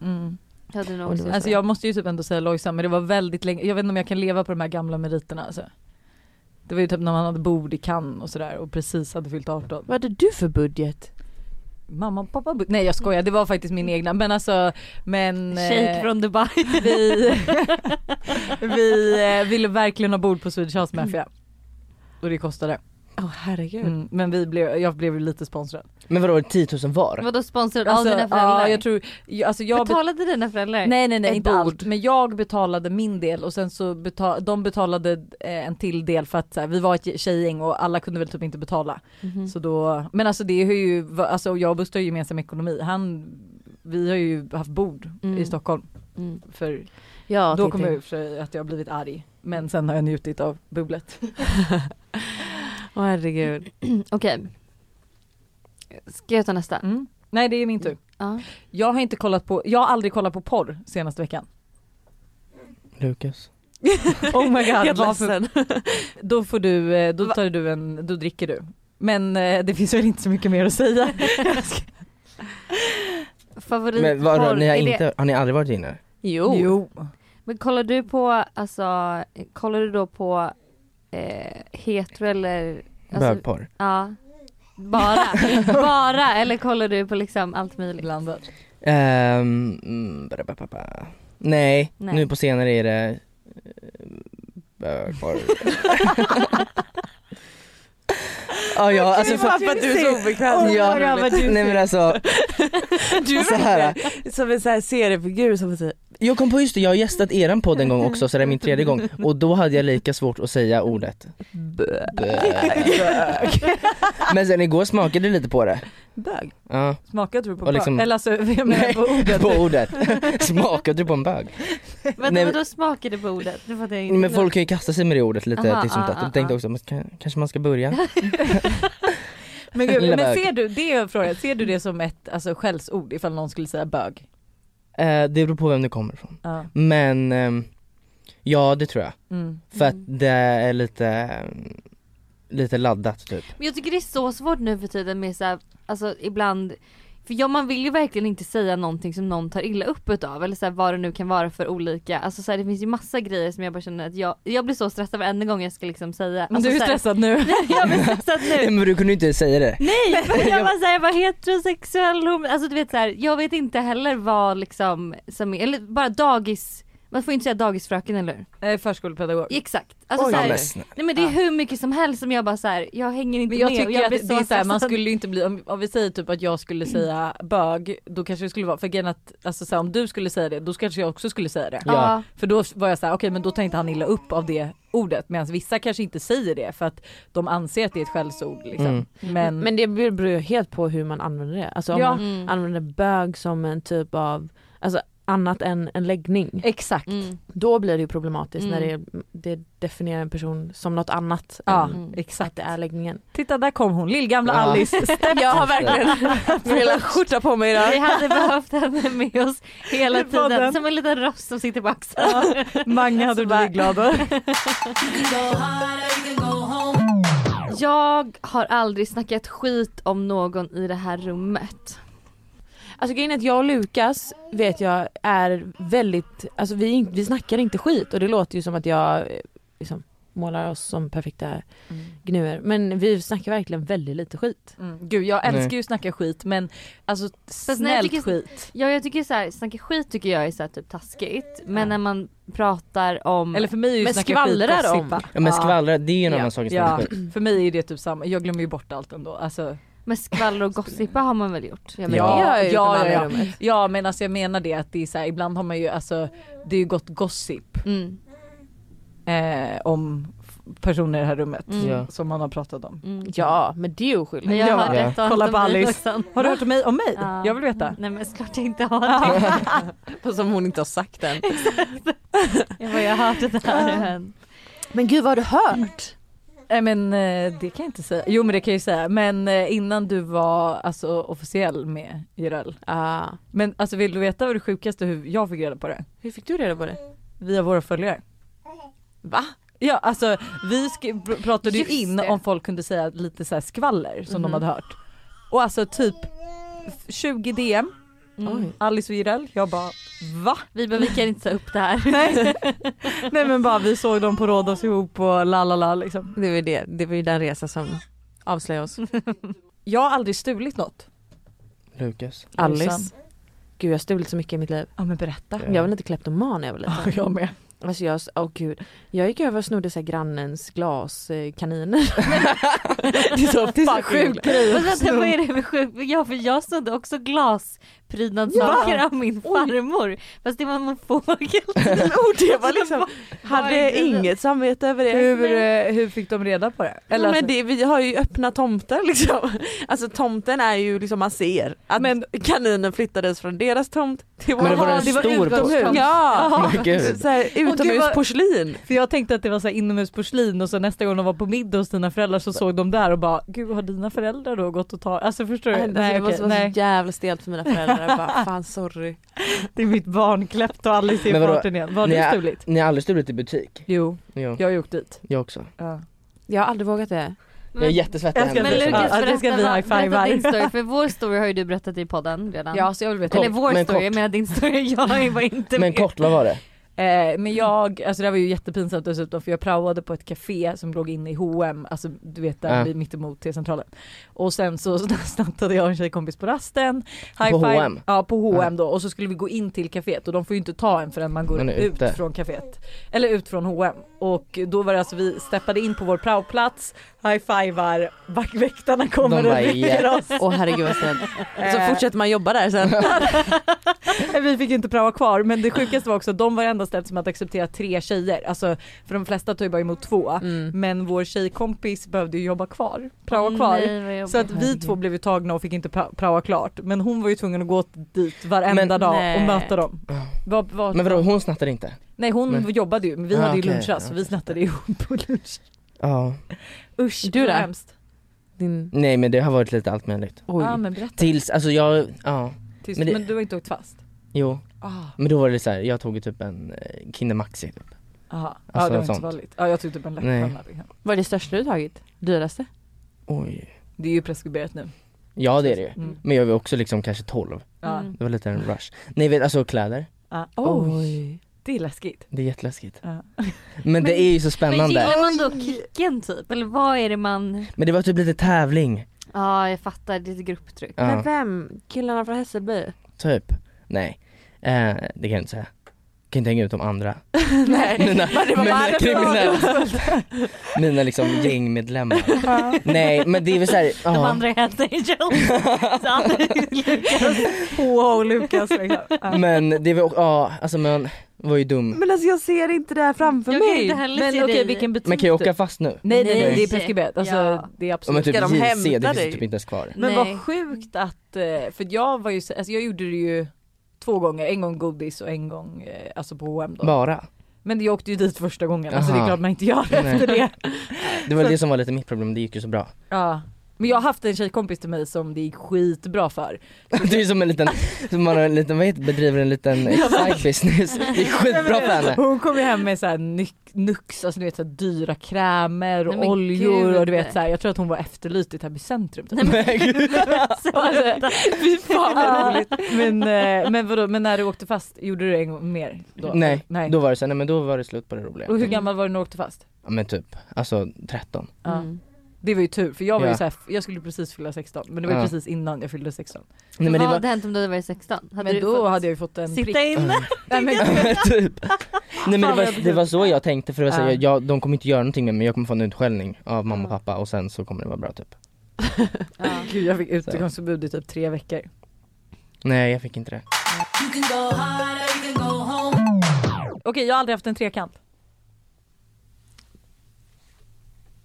B: Mm.
C: Jag hade nog
E: Och det
C: också-
E: var
B: Alltså jag måste ju typ ändå säga Lojsan men det var väldigt länge, jag vet inte om jag kan leva på de här gamla meriterna alltså. Det var ju typ när man hade bord i Cannes och sådär och precis hade fyllt 18.
E: Vad hade du för budget?
B: mamma och pappa, bu- nej jag skojar det var faktiskt min egna men alltså men eh,
C: Shake från Dubai.
B: vi, vi eh, ville verkligen ha bord på Swedish House Mafia. Mm. Och det kostade.
E: Åh herregud.
B: Mm, men vi blev, jag blev ju lite sponsrad.
F: Men vadå 10 000 var?
C: Vadå sponsrad
B: Alltså,
C: av dina föräldrar?
B: ja, jag tror, jag, alltså jag bet-
C: Betalade dina föräldrar?
B: Nej nej nej
C: ett
B: inte
C: bord?
B: allt men jag betalade min del och sen så betal, de betalade eh, en till del för att så här, vi var ett ge- tjejgäng och alla kunde väl typ inte betala.
C: Mhm.
B: Så då, men alltså det är ju, va- alltså jag och Buster har ju gemensam ekonomi. Han, vi har ju haft bord
C: Mm.
B: i Stockholm
C: Mm.
B: för
E: Ja,
B: då
E: Titti.
B: kommer jag i och för sig att jag har blivit arg. Men sen har jag njutit av bubblet.
E: Åh herregud.
C: Mm, Okej. Ska jag ta nästa?
B: Mm. Nej det är min tur.
C: Ja.
B: Jag har inte kollat på, jag har aldrig kollat på porr senaste veckan.
F: Lukas.
B: Oh my god.
E: Helt ledsen.
B: Då får du, eh, då tar du en, då dricker du. Men eh, det finns väl inte så mycket mer att säga. Jag ska-
C: Favorit
F: Men vadå,
C: porr,
F: ni har,
C: är det-
F: inte, har ni aldrig varit inne?
E: Jo.
C: Men kollar du på, alltså, kollar du då på eh, hetero eller? Alltså,
F: Bögporr?
C: ja. Bara, bara eller kollar du på liksom allt möjligt?
B: Blandat.
F: Ehm, mm, bra, bra, bra, bra. nej,
C: Nej.
F: nu på senare är det eh, bögporr. ja, ja, alltså för,
E: för att du är så obekväm.
F: ja, nej men alltså,
E: Du
F: så här,
E: verkar som en så här seriefigur som säger
F: jag kom på just det, jag har gästat eran podd en gång också så det är min tredje gång och då hade jag lika svårt att säga ordet. Bög. Men sen igår smakade jag lite på det.
B: Bög.
F: Ja,
B: Smakade du på
F: Och
B: bög?
F: liksom-
B: Eller alltså jag menar
F: Nej,
B: på ordet.
F: på ordet. Smakade du på en bög?
C: Vänta
F: Nej,
C: vadå smakade på ordet? Det fattar jag
F: Nej,
C: inte.
F: Men folk kan ju kasta sig med det ordet lite
C: Aha,
F: till sånt
C: ah,
F: där.
C: ah,
F: Jag tänkte
C: ah.
F: också, men kan- kanske man ska börja?
B: Men, gud,
F: Lilla
B: men
F: bög.
B: ser du, det är en fråga, ser du det som ett alltså, skällsord ifall någon skulle säga bög? Mm.
F: Eh, det beror på vem du kommer ifrån.
B: Ja.
F: Men ehm, ja det tror jag.
B: Mm.
F: För
C: Mm.
F: att det är lite, ehm, lite laddat typ.
C: Men jag tycker det är så svårt nu för tiden med såhär, alltså ibland för ja, man vill ju verkligen inte säga någonting som någon tar illa upp utav eller så här, vad det nu kan vara för olika, alltså så här, det finns ju massa grejer som jag bara känner att jag, jag blir så stressad varenda gång jag ska liksom säga.
B: Men
C: alltså,
B: du är
C: så här-
B: stressad nu.
C: Nej, jag blir stressad nu.
F: Nej men du kunde ju inte säga det.
C: Nej! men Jag var såhär, jag var heterosexuell, homo- alltså du vet såhär, jag vet inte heller vad liksom som är, eller bara dagis, man får ju inte säga dagisfröken eller hur?
B: Jag är förskolepedagog.
C: Exakt. Alltså
B: Oj.
C: så
F: Ja,
C: här,
F: men snälla.
C: nej men det är hur mycket som helst som jag bara såhär, jag hänger inte
B: Men jag
C: med
B: tycker
C: och jag
B: att
C: blir
B: det är så här, man
C: stressad.
B: skulle ju inte bli, om, om vi säger typ att jag skulle säga bög, då kanske det skulle vara, för grejen att, alltså så här, om du skulle säga det, då kanske jag också skulle säga det.
F: Ja.
C: Ja.
B: För då var jag så här, okej men då tänkte han illa upp av det ordet medan vissa kanske inte säger det för att de anser att det är ett skällsord liksom.
F: Mm.
B: Men,
E: Men det beror ju helt på hur man använder det. Alltså om
B: Ja.
E: man
C: Mm.
E: använder bög som en typ av, alltså annat än en läggning.
B: exakt.
C: Mm.
E: Då blir det ju problematiskt
C: Mm.
E: när det, det definierar en person som något annat
B: Ja
E: än
C: Mm.
E: att
B: exakt.
E: det är läggningen.
B: Titta där kom hon, lillgamla
F: Ja.
B: Alice.
E: Jag har verkligen velat skjorta på mig
C: Vi
E: idag.
C: hade behövt henne med oss hela
B: I podden.
C: tiden, som en liten röst som sitter på axeln.
B: Mange hade blivit glad över.
C: Jag har aldrig snackat skit om någon i det här rummet.
E: Alltså grejen är att jag och Lukas vet jag är väldigt, alltså vi, är inte- vi snackar inte skit och det låter ju som att jag eh, liksom, målar oss som perfekta gnuer. Men vi snackar verkligen väldigt lite skit.
B: Mm. Gud jag
F: Nej.
B: älskar ju att snacka skit men alltså
C: nej,
B: snällt
C: jag tycker-
B: skit.
C: Ja jag tycker såhär, snacka skit tycker jag är såhär typ taskigt men när man pratar
F: Mm.
C: om
B: Eller för mig är ju
E: Men
B: snacka skit
E: skvallrar om.
B: gossipa.
F: Ja, men skvallra, det är ju en
B: Ja.
F: annan sak än
B: Ja.
F: skit.
B: För mig är det typ samma, jag glömmer ju bort allt ändå. Alltså,
C: men skvaller och gossipa har man väl gjort? Jag
F: Ja.
C: menar,
E: det gör jag ju
B: ja,
E: med alla
B: ja, ja.
E: i rummet.
B: Ja men alltså jag menar det att det är så här, ibland har man ju alltså, det är ju gott gossip
C: Mm,
B: eh, om f- personer i det här rummet
C: Mm.
F: Ja.
B: som man har pratat om.
C: mm.
E: Ja, men det är ju
C: Men
E: oskyldigt.
C: jag har
F: Ja.
C: rätt att
B: Kolla
C: ha
B: på
C: en bil
B: Alice.
C: också.
B: Har du hört om mig? Om mig?
C: Ja.
B: Jag vill veta.
C: Nej men såklart jag inte har det.
E: Som hon inte har sagt än.
C: Jag bara jag har hört det här hänt.
E: Men gud vad har du hört?
B: Nej men eh, det kan jag inte säga. Jo men det kan jag ju säga. Men eh, innan du var alltså officiell med Jireel.
E: Ah.
B: Men alltså vill du veta vad det sjukaste hur jag fick reda på det?
E: Hur fick du reda på det?
B: Via våra följare.
E: Va?
B: Ja alltså vi sk- pr- pratade ju
C: Just
B: in
C: det.
B: om folk kunde säga lite så här skvaller som
E: Mhm.
B: de hade hört. Och alltså typ f- 20 DM,
C: Mm.
B: Alice och Jireel. Jag bara va?
C: Vi bara vi kan inte ta upp det här.
B: Nej. Nej men bara vi såg dem på Rhodos ihop och la la la liksom.
E: Det var ju Mm. det. Det var ju den resa som avslöjade oss.
B: Jag har aldrig stulit något.
F: Lukas.
B: Jossan.
E: Alice. Gud jag har stulit så mycket i mitt liv.
B: Ja men berätta.
E: Jag var lite kleptoman när jag var liten.
B: Ja, jag med.
E: Alltså jag, åh gud. Jag gick över och snodde så här grannens glaskaniner. det är så
B: Det är så
E: fucking
B: sjukt
E: glas.
B: grej.
C: Men vänta vad är det för sjukt? Ja för jag snodde också glasprydnadssaker av min farmor. Fast det var en fågel.
E: Och det var liksom, hade
C: Varje-
E: inget samvete över det.
B: Hur, eh, hur fick de reda på det?
E: Eller
B: alltså-
E: men det, vi har ju öppna tomter liksom. Alltså tomten är ju liksom man ser att
B: Men-
E: kaninen flyttades från deras tomt till vår.
F: Men det var
B: Jaha,
F: en stor
B: utomhus. Ja.
E: Ja!
F: Men gud.
E: Så här, utomhusporslin.
B: För jag tänkte att det var så här inomhusporslin och så nästa gång de var på middag hos dina föräldrar så såg de där och bara gud har dina föräldrar då gått och tagit, alltså förstår du?
E: Alltså, det måste
B: okej,
E: vara
B: nej.
E: så jävla stelt för mina föräldrar. Jag bara, fan sorry.
B: det är mitt barn kläppt och Alice är i
F: Men vadå?
B: farten igen. Vad har
F: Nej,
B: du
F: jag-
B: stulit?
F: Ni har aldrig stulit i butik?
B: Jo,
F: Jo,
B: jag har ju åkt dit.
F: jag också.
B: Ja.
E: Jag har aldrig vågat det.
F: Jag är jättesvettig.
B: Jag ska-
F: här.
C: Men Mm. Lukas
B: Ja, det ska
C: berätta,
B: vi
C: vad-
B: high-fiva.
C: berätta din story, för vår story har ju du berättat i podden redan.
B: så jag vill veta.
C: Eller
F: Kort,
C: vår
F: men
C: story,
F: kort.
C: jag menar din story, jag var inte
F: Men
C: med.
F: kort, vad var det?
B: Eh, men jag, alltså det här var ju jättepinsamt dessutom för jag praoade på ett café som låg inne i H&M, alltså du vet där
F: Ja.
B: vid mittemot T-centralen. Och sen så snattade jag och en tjejkompis på rasten. High
F: På
B: five.
F: H&M?
B: Ja på H&M då och så skulle vi gå in till caféet och de får ju inte ta en förrän man går
F: Man är
B: ut
F: ute.
B: från caféet. Eller ut från H&M. Och då var det alltså vi steppade in på vår praoplats, high-fivar, vak- väktarna kommer
F: bara,
B: och rycker
F: "Ja."
B: oss.
E: Åh herregud vad stelt. Så
B: Eh.
E: fortsätter man jobba där sen.
B: Nej, Vi fick inte praoa kvar men det sjukaste var också de var det enda stället som hade accepterat tre tjejer. Alltså för de flesta tog ju bara emot två.
E: Mm.
B: Men vår tjejkompis behövde ju jobba kvar, praoa kvar.
C: Mm, Nej, vad jobbigt.
B: så att vi två blev ju tagna och fick inte pra- praoa klart. Men hon var ju tvungen att gå dit varenda
F: Men-
B: dag och
E: Nej.
B: möta dem. Var, var,
F: Men vadå, hon snattade inte?
B: nej hon
F: Men-
B: jobbade ju men vi
F: Ah,
B: hade ju
F: okej,
B: lunchrast så vi snattade ju på lunch.
F: Ja.
B: Usch
E: Du då?
B: vad hemskt.
E: Din,
F: Nej men det har varit lite allt möjligt.
E: oj.
B: Ja men berätta.
F: Tills, alltså jag, ja.
B: Tyst. Men,
F: men det-
B: du har inte åkt fast?
F: Jo.
B: Ah,
F: Men då var det så här, jag tog typ en eh, Kinemaxi. Typ.
B: aha. ja
F: Alltså,
B: det var inte
F: sånt.
B: så vanligt. Ja jag tog typ en
F: Nej.
B: läpparna.
E: Vad är det största du tagit? Dyraste?
F: Oj.
B: Det är ju preskriberat nu.
F: Ja det är det ju.
B: Mm.
F: Men jag var också liksom kanske 12.
B: Ja.
C: Mm.
F: Det var lite en rush. Nej vet, alltså kläder.
B: Ja.
E: Oj.
B: Det är läskigt.
F: Det är jätteläskigt.
B: Ja.
F: Men, det är ju så
C: Men
F: spännande.
C: gillar man då kicken typ? Eller vad är det man,
F: Men det var typ lite tävling.
C: ja jag fattar, det är ett grupptryck.
E: Men
F: Ja,
E: vem? Killarna från Hässelby?
F: typ. Nej. Eh, det kan jag inte säga. Jag kan inte hänga ut de andra.
E: Nej.
F: Mina,
E: det var
F: mina
E: bara-
F: kriminella. Mina liksom gängmedlemmar. Nej men det är väl såhär,
C: De
F: ja.
C: andra är Hells Angels. Så han är Lukas.
B: Wow Lukas liksom.
F: Men det var, ja alltså man var ju dum.
E: Men alltså jag ser inte det här framför
C: Jag kan
E: mig.
C: inte heller
B: Men
C: se
B: okej
C: dig.
B: vilken butik
F: Man kan ju
B: du-
F: åka fast nu.
B: Nej nej nej
F: Nej.
B: det är preskriberat, alltså
C: Ja.
B: det är
F: Ja, men
B: absolut.
F: typ
E: Ska de
F: JC,
E: hämta
F: det finns
E: dig?
F: typ inte ens kvar.
B: Men
C: Nej.
B: vad sjukt att, eh, för jag var ju, så- alltså jag gjorde det ju två gånger, en gång godis och en gång eh, alltså på H&M då.
F: Bara.
B: Men jag åkte ju dit första gången, alltså det är
F: Aha.
B: klart man inte gör det
F: Nej.
B: efter det.
F: Det var det som var lite mitt problem, det gick ju så bra.
B: Ja. Men jag har haft en tjejkompis till mig som det gick skitbra för.
F: Det är som en liten, som man har en liten, vad heter, bedriver en liten side business. Det är skitbra för henne.
B: Hon kom ju hem med så här nyc- Nux, alltså du vet så här dyra krämer och
C: Nej, men
B: oljor
C: gud.
B: och du vet så här, jag tror att hon var efterlyst i Täby centrum typ.
F: Men gud.
C: Sluta.
B: Fy fan vad roligt. Men, eh, men vadå, men när du åkte fast, gjorde du det en gång mer? Då?
F: Nej,
B: Nej.
F: då var det så, nej men då var det slut på det roliga.
B: Och hur gammal var du när du åkte fast?
F: Ja men typ, alltså 13.
B: Ja.
C: Mm.
B: Det var ju tur för jag var ju
F: Ja.
B: så här, jag skulle precis fylla 16 men det var ju
F: Ja.
B: precis innan jag fyllde 16.
F: Nej, men
C: vad
F: det var,
C: hade hänt om du hade varit 16? Hade
B: Men
C: du
B: då
C: fått
B: hade jag ju fått en prick.
C: sitta inne?
B: Nej, men,
F: typ. Nej men det
B: vad jag
F: var, det var så jag tänkte för det var så, här,
B: Ja.
F: jag, jag, de kommer inte göra någonting med mig, jag kommer få en utskällning av mamma och pappa och sen så kommer det vara bra typ.
B: gud jag fick utegångsförbud i typ tre veckor.
F: Nej jag fick inte det.
A: You can go hard or you can go home.
B: Okej jag har aldrig haft en trekant.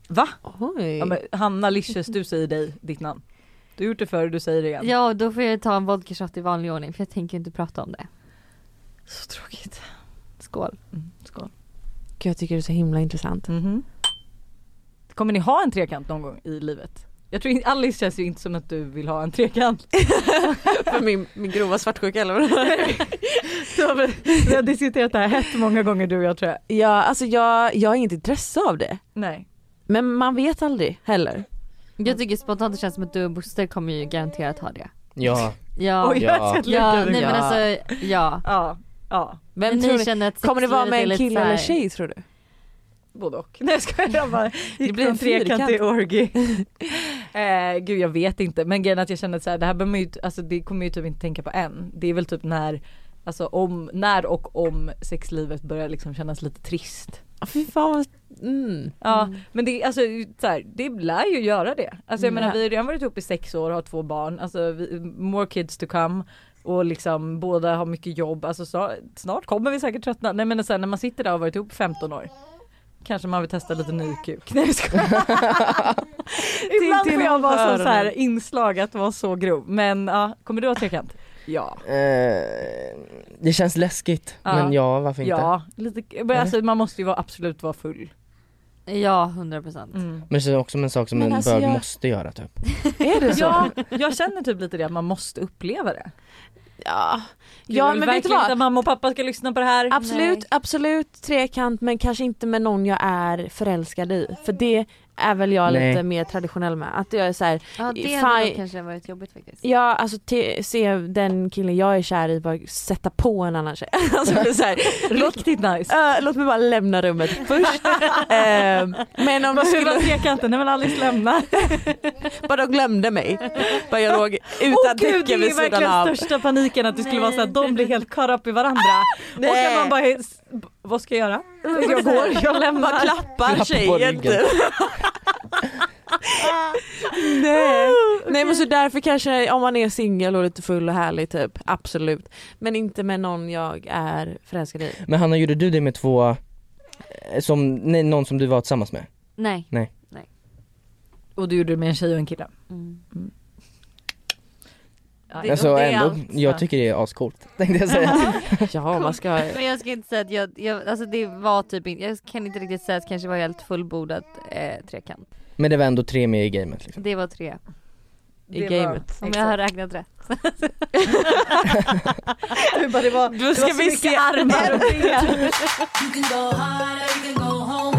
B: Va?
E: Oj.
B: Ja, men, Hanna Licious du säger dig, ditt namn. Du har gjort det förr, du säger det igen.
C: Ja då får jag ta en vodka shot i vanlig ordning för jag tänker inte prata om det.
B: Så tråkigt.
C: Skål.
B: Mm, skål.
E: Gud, jag tycker det är så himla intressant.
B: Mhm. Kommer ni ha en trekant någon gång i livet? Jag tror inte, Alice känns ju inte som att du vill ha en trekant.
E: För min, min grova svartsjuka eller vad
B: Vi har diskuterat det här hett många gånger du och jag tror jag.
E: Ja alltså jag, jag har inget intresse av det.
B: Nej.
E: Men man vet aldrig heller.
C: Jag tycker spontant det känns som att du och Buster kommer ju garanterat ha det.
F: Ja,
C: Ja.
B: Oj, jag ska lägga
C: Ja,
B: det.
C: nej men
E: Ja.
C: alltså ja.
B: Ja, ja.
E: Vem
C: Men
E: tror
C: ni
E: ni,
C: känner att
E: kommer det vara
C: sexlivet är
E: med en
C: lite
E: kille
C: så här-
E: eller tjej tror du?
B: både och. Nej jag skojar, jag bara, det blir en
E: från fyrkant.
B: trekantig orgy. eh, gud jag vet inte men grejen är att jag känner att så här, det här behöver man ju, alltså det kommer jag ju typ inte tänka på än. Det är väl typ när, alltså om, när och om sexlivet börjar liksom kännas lite trist.
E: Ah, Fy fan vad... Mm.
B: Ja men det, alltså, så här, det lär ju göra det. Alltså jag
C: Mm.
B: menar vi har redan varit ihop i sex år och har två barn, alltså vi, more kids to come. Och liksom båda har mycket jobb, alltså så, snart kommer vi säkert tröttna. Nej men sen när man sitter där och har varit ihop i 15 år. Kanske man vill testa lite ny kuk. Nej jag skojar. Ibland får jag vara som så här inslag att vara så grov. Men ja, kommer du ha trekant? Ja.
F: Eh, det känns läskigt
B: Ja.
F: men ja varför inte?
B: Ja, lite, men alltså, man måste ju vara, absolut vara full.
C: Ja, 100 procent.
B: Mm.
F: Men det är också en sak som
E: Men
F: en
E: alltså,
F: bög
E: jag-
F: måste göra typ.
B: Är det så? Ja, jag känner typ lite det att man måste uppleva det.
E: Ja,
B: Gud,
E: ja
B: jag vill
E: men vet du
B: verkligen inte
E: vad?
B: att mamma och pappa ska lyssna på det här.
E: Absolut,
C: Nej.
E: absolut trekant men kanske inte med någon jag är förälskad i. För det är väl jag
F: Nej.
E: lite mer traditionell med. Att jag är så här,
C: Ja det
E: Fan.
C: hade nog kanske varit jobbigt faktiskt.
E: Ja alltså te- se den killen jag är kär i bara sätta på en annan tjej. Alltså, det är så här,
B: Riktigt nice.
E: eh, låt mig bara lämna rummet först. Eh, men om du
B: Hur var
E: skulle,
B: trekanten? Nej men Alice lämna.
E: bara de glömde mig. Bara jag låg
B: Åh
E: utan
B: gud det
E: täcke
B: är
E: vid sidan
B: verkligen
E: av.
B: största paniken att det skulle vara så att de blir helt caught up i varandra. Och
E: Nej.
B: att man bara, "S- vad ska jag göra? Jag går, jag
E: Bara
B: lämnar.
E: klappar
F: Klapp på
E: tjejen
F: ryggen.
E: typ. Nej. Nej men så därför kanske om man är singel och lite full och härlig typ, absolut. Men inte med någon jag är förälskad i.
F: Men Hanna gjorde du det med två, eh, som, nej, någon som du var tillsammans med?
C: Nej.
B: Och du gjorde det med en tjej och en kille.
C: Mm.
B: Ja,
C: Det-
F: Alltså
C: och är
F: ändå,
C: allt,
F: jag
C: så.
F: tycker det är ascoolt tänkte jag säga.
E: Ja man ska,
C: Men jag ska inte säga att jag, jag alltså det var typ inte, jag kan inte riktigt säga att det kanske var helt fullbordat eh, trekant.
F: Men det var ändå tre med i gamet liksom.
C: Det var tre.
E: i
B: det var-
E: gamet.
C: Om
B: Exakt.
C: jag har räknat rätt.
B: Du bara, det var,
E: Då ska
B: det var så
E: vi
B: mycket
E: se.
B: armar och ben.
A: You can go hard or you can go home.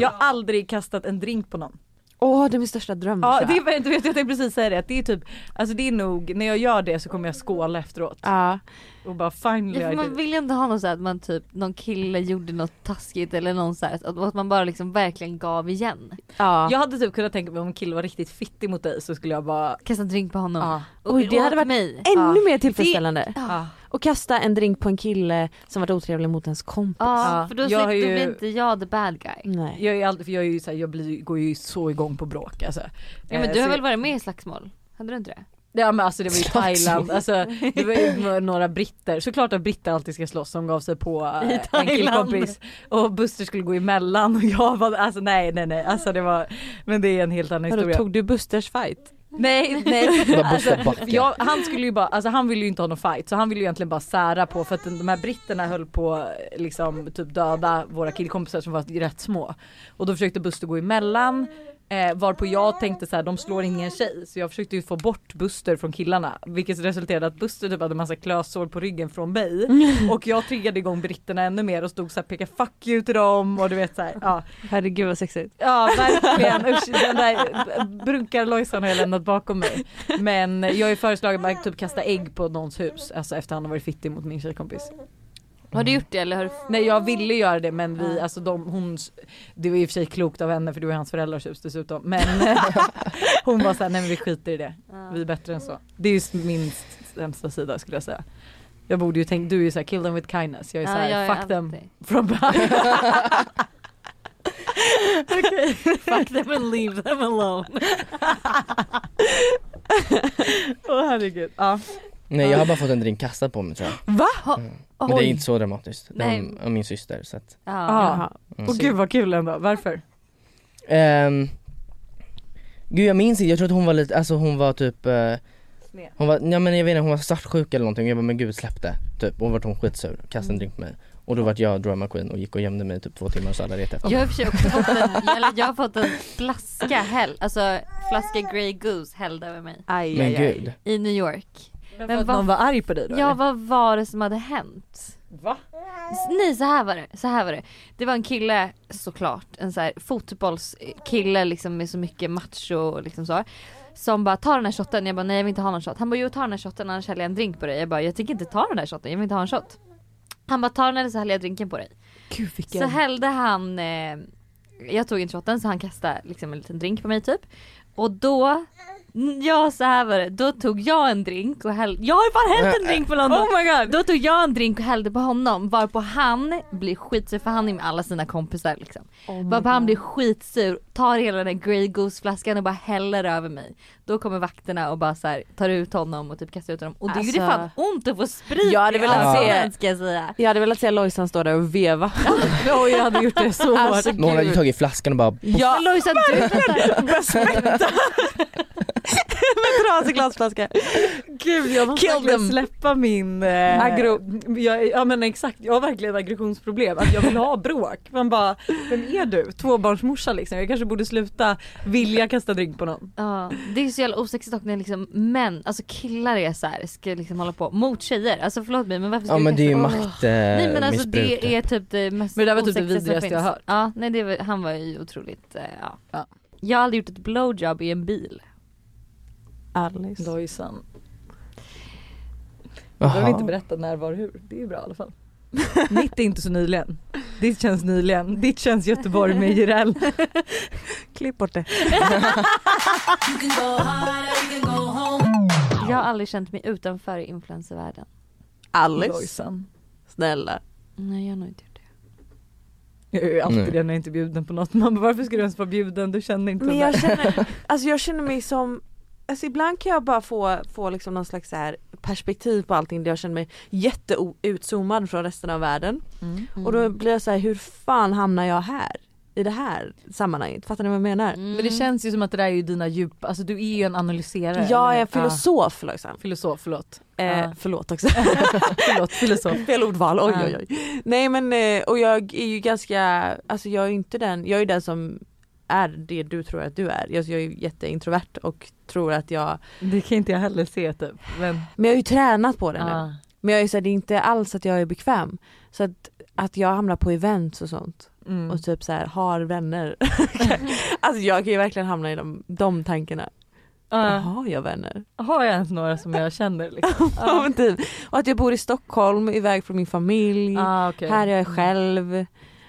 B: Jag har aldrig kastat en drink på någon.
E: Åh det är min största dröm.
B: Ja
E: tror
B: det
E: jag.
B: är, du vet jag tänkte precis säga det att det är typ, alltså det är nog, när jag gör det så kommer jag skåla efteråt
E: ja.
B: och bara finally
C: Ja,
B: I
C: för man
B: did.
E: typ.
B: it.
C: vill ju inte ha något så här att man typ, någon kille gjorde något taskigt eller någon så här, att, att man bara liksom verkligen gav igen.
E: Ja.
B: Jag hade typ kunnat tänka mig om en kille var riktigt fittig mot dig så skulle jag bara
C: Kasta en drink på honom.
B: Ja.
C: Och,
E: Oj, det
C: och
E: hade
C: åt
E: varit
C: mig.
E: Ännu mer tillfredsställande.
B: ah.
E: Och kasta en drink på en kille som varit otrevlig mot ens kompis.
C: Ja,
B: Ja,
C: för då,
B: jag
C: slipper,
B: har
C: då
B: ju-
C: blir inte jag the bad guy.
E: Nej.
B: Jag är, alltid, för jag, är ju så här, jag blir, går ju så igång på bråk alltså.
C: Ja,
B: Eh,
C: men du har
B: så-
C: väl varit med i slagsmål? Hade du inte det?
B: Ja men alltså det var ju
F: Slagsmål.
B: Thailand, alltså, det var ju no- några britter, såklart att britter alltid ska slåss som gav sig på eh, en killkompis och Buster skulle gå emellan och jag var, alltså nej nej nej alltså det var, men det är en helt annan
E: Vadå,
B: historia.
E: tog du Busters fight?
B: Nej nej.
F: Bara busta backen.
B: Ja, Alltså, han skulle ju bara, alltså han ville ju inte ha någon fight så han ville ju egentligen bara sära på för att den- de här britterna höll på eh, liksom typ döda våra killkompisar som var rätt små. Och då försökte Buster gå emellan eh, varpå jag tänkte så här, de slår ingen tjej så jag försökte ju få bort Buster från killarna vilket resulterade i att Buster typ hade massa klösår på ryggen från mig och jag triggade igång britterna ännu mer och stod så här peka fuck you till dem och du vet så här, ja.
E: Herregud vad sexigt.
B: Ja verkligen, usch den där brunkarlojsan har jag lämnat bakom mig. Men jag har ju föreslagit att typ kasta ägg på någons hus, alltså efter han har varit fittig mot min tjejkompis.
C: Har du gjort det eller har du...
B: Nej jag ville göra det men vi, alltså de, hon, det var i och för sig klokt av henne för det var ju hans föräldrars hus dessutom. Men hon var såhär, nej men vi skiter i det, vi är bättre än så. Det är ju min sämsta sida skulle jag säga. Jag borde ju tänkt, du är ju såhär kill them with kindness, jag är såhär
C: jag är
B: fuck them
C: alltid-
B: from behind.
C: Fuck them and leave them alone.
B: Åh herregud. Ja.
F: Nej jag har bara fått en drink kastad på mig tror jag. Mm. Men det är inte så dramatiskt. Det
C: Nej.
F: var av min syster så att, mm.
C: Ja.
B: Ja. Och gud vad kul ändå, varför?
F: ehm, Gud jag minns inte, jag tror att hon var lite, alltså hon var typ eh,
B: Sned.
F: Hon var, ja men jag vet inte, hon var svartsjuk eller någonting jag bara men gud släpp det typ och vart hon skitsur, kastade en drink på mig och då vart jag drama queen och gick och gömde mig i typ två timmar så alla letade efter
C: Jag
F: mig.
C: har i och för sig också fått en, jag, jag har fått en flaska häll, alltså flaska Grey Goose hälld över mig
E: Aj,
F: Men
E: aj, aj.
F: gud,
C: i New York.
B: Men,
C: Men
B: för att
C: vad-
B: någon var arg på dig då
C: Ja
B: eller?
C: vad var det som hade hänt?
B: Va?
C: S- Nej så här var det, så här var det. Det var en kille såklart, en så här fotbollskille liksom med så mycket macho och liksom så. Som bara ta den här shotten, jag bara nej jag vill inte ha någon shot. Han bara jo ta den här shotten annars häller jag en drink på dig. Jag bara jag tänker inte ta den här shotten, jag vill inte ha en shot. Han bara ta den eller så häller jag drinken på dig.
B: Gud vilken.
C: Så hällde han eh, jag tog inte shotten så han kastade liksom en liten drink på mig typ. Och då, ja så här var det, då tog jag en drink och hällde, jag har ju bara hällt en drink på någon
B: Oh my god!
C: Då tog jag en drink och hällde på honom varpå han blir skitsur för han är med alla sina kompisar liksom.
E: Oh
C: varpå han blir skitsur, tar hela den där Grey Goose flaskan och bara häller över mig. Då kommer vakterna och bara så här, tar ut honom och typ kastar ut honom och det gjorde
E: Alltså.
C: fan ont att få sprit
E: Jag hade
C: i
E: velat
F: se-
C: ögonen, ska jag säga.
E: Jag hade velat se Lojsan stå där och veva.
B: Oj jag hade gjort det så hårt.
E: Alltså
F: Men hon hade ju
E: gud.
F: tagit flaskan och bara
E: Ja,
C: Men Lojsan du
E: trasig glasflaska.
B: Gud jag måste
E: Kill
B: verkligen
E: them.
B: släppa min... Eh,
E: Aggro.
B: Jag, ja men exakt, jag har verkligen aggressionsproblem. Att jag vill ha bråk. Man bara, vem är du? Tvåbarnsmorsa liksom. Jag kanske borde sluta vilja kasta drink på någon.
C: Ja, det är så jävla osexigt dock när liksom män, alltså killar är så här, ska liksom hålla på mot tjejer. Alltså förlåt mig men varför ska
F: Ja
C: du
F: men det är ju
C: kasta-
F: makt eh,
C: Nej men alltså
F: missbruk.
C: det är typ det mest
B: Men det där var typ det
C: osexiga som
B: vidrigaste jag
C: finns.
B: hört.
C: Ja, nej det var, han var ju otroligt, eh, ja.
B: Ja.
C: Jag har aldrig gjort ett blowjob i en bil.
E: Alice.
B: Lojsan. Du
F: Jaha.
B: behöver inte berätta när, var, hur. Det är ju bra i alla fall. Mitt är inte så nyligen. Ditt känns nyligen. Ditt känns Göteborg med Jireel.
E: Klipp bort det.
A: You can go hard or you can go home.
C: Jag har aldrig känt mig utanför i influencervärlden.
E: Alice,
B: Lojsan.
E: snälla.
C: Nej jag har nog inte gjort det.
B: Jag är ju alltid
F: Nej.
B: det när jag inte är bjuden på något. Man bara, varför ska du ens vara bjuden? Du känner inte
E: Men
B: den
E: jag
B: där.
E: känner, alltså jag känner mig som, alltså ibland kan jag bara få, få liksom någon slags så här perspektiv på allting där jag känner mig jätteutzoomad från resten av världen.
B: Mm.
E: Och då blir jag så här, hur fan hamnar jag här? I det här sammanhanget, fattar ni vad jag menar?
C: Mm.
B: Men det känns ju som att det där är ju dina djup, alltså du är ju en analyserare.
E: Jag
B: eller?
E: är filosof liksom.
B: Ja, filosof, förlåt.
E: Eh,
B: Ja.
E: förlåt också.
B: Förlåt, filosof.
E: Fel ordval, oj oj oj. Nej men eh, och jag är ju ganska, alltså jag är ju inte den, jag är ju den som är det du tror att du är. Jag, jag är ju jätteintrovert och tror att jag,
B: Det kan inte jag heller se typ. Men,
E: men jag har ju tränat på det nu.
B: ja.
E: Men jag är så här, det är inte alls att jag är bekväm. Så att, att jag hamnar på events och sånt
B: mm.
E: och typ så här har vänner. alltså jag kan ju verkligen hamna i de, de tankarna.
B: Ja.
E: Jaha, har jag vänner?
B: Har jag ens några som jag känner liksom?
E: Ja. men typ. Och att jag bor i Stockholm, iväg från min familj.
B: Ah, okej.
E: Här är jag själv.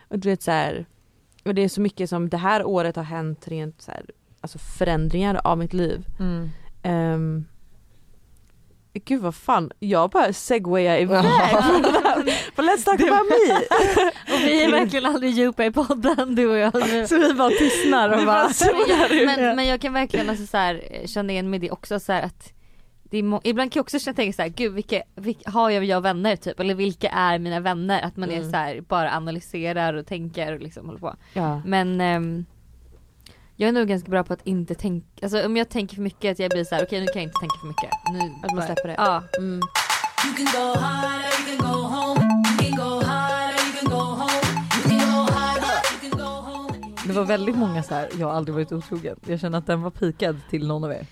E: Och du vet så här, och det är så mycket som det här året har hänt rent så här, alltså förändringar av mitt liv.
B: Mm.
E: Ehm, gud vad fan, jag bara segwayar iväg. But let's talk about me.
C: Och vi är verkligen aldrig djupa i podden du och jag nu.
B: Så vi bara tystnar och bara...
C: men, men, men jag kan verkligen alltså så här, eh, känna igen mig i det också så här att det är må- Ibland kan jag också känna tänka såhär, gud vilka, vilka har jag, jag vänner typ? Eller vilka är mina vänner? Att man är
E: Mm.
C: så här, bara analyserar och tänker och liksom håller på.
E: Ja.
C: Men ehm, jag är nog ganska bra på att inte tänka, alltså om jag tänker för mycket att jag blir så här: okej nu kan jag inte tänka för mycket. Nu
E: Att man släpper det.
C: Ja.
E: Mm.
A: You can go hard or you can go home. You can go hard or you can go home. You can go hard or you can go home.
B: Det var väldigt många så här, jag har aldrig varit otrogen. Jag känner att den var pikad till någon av er.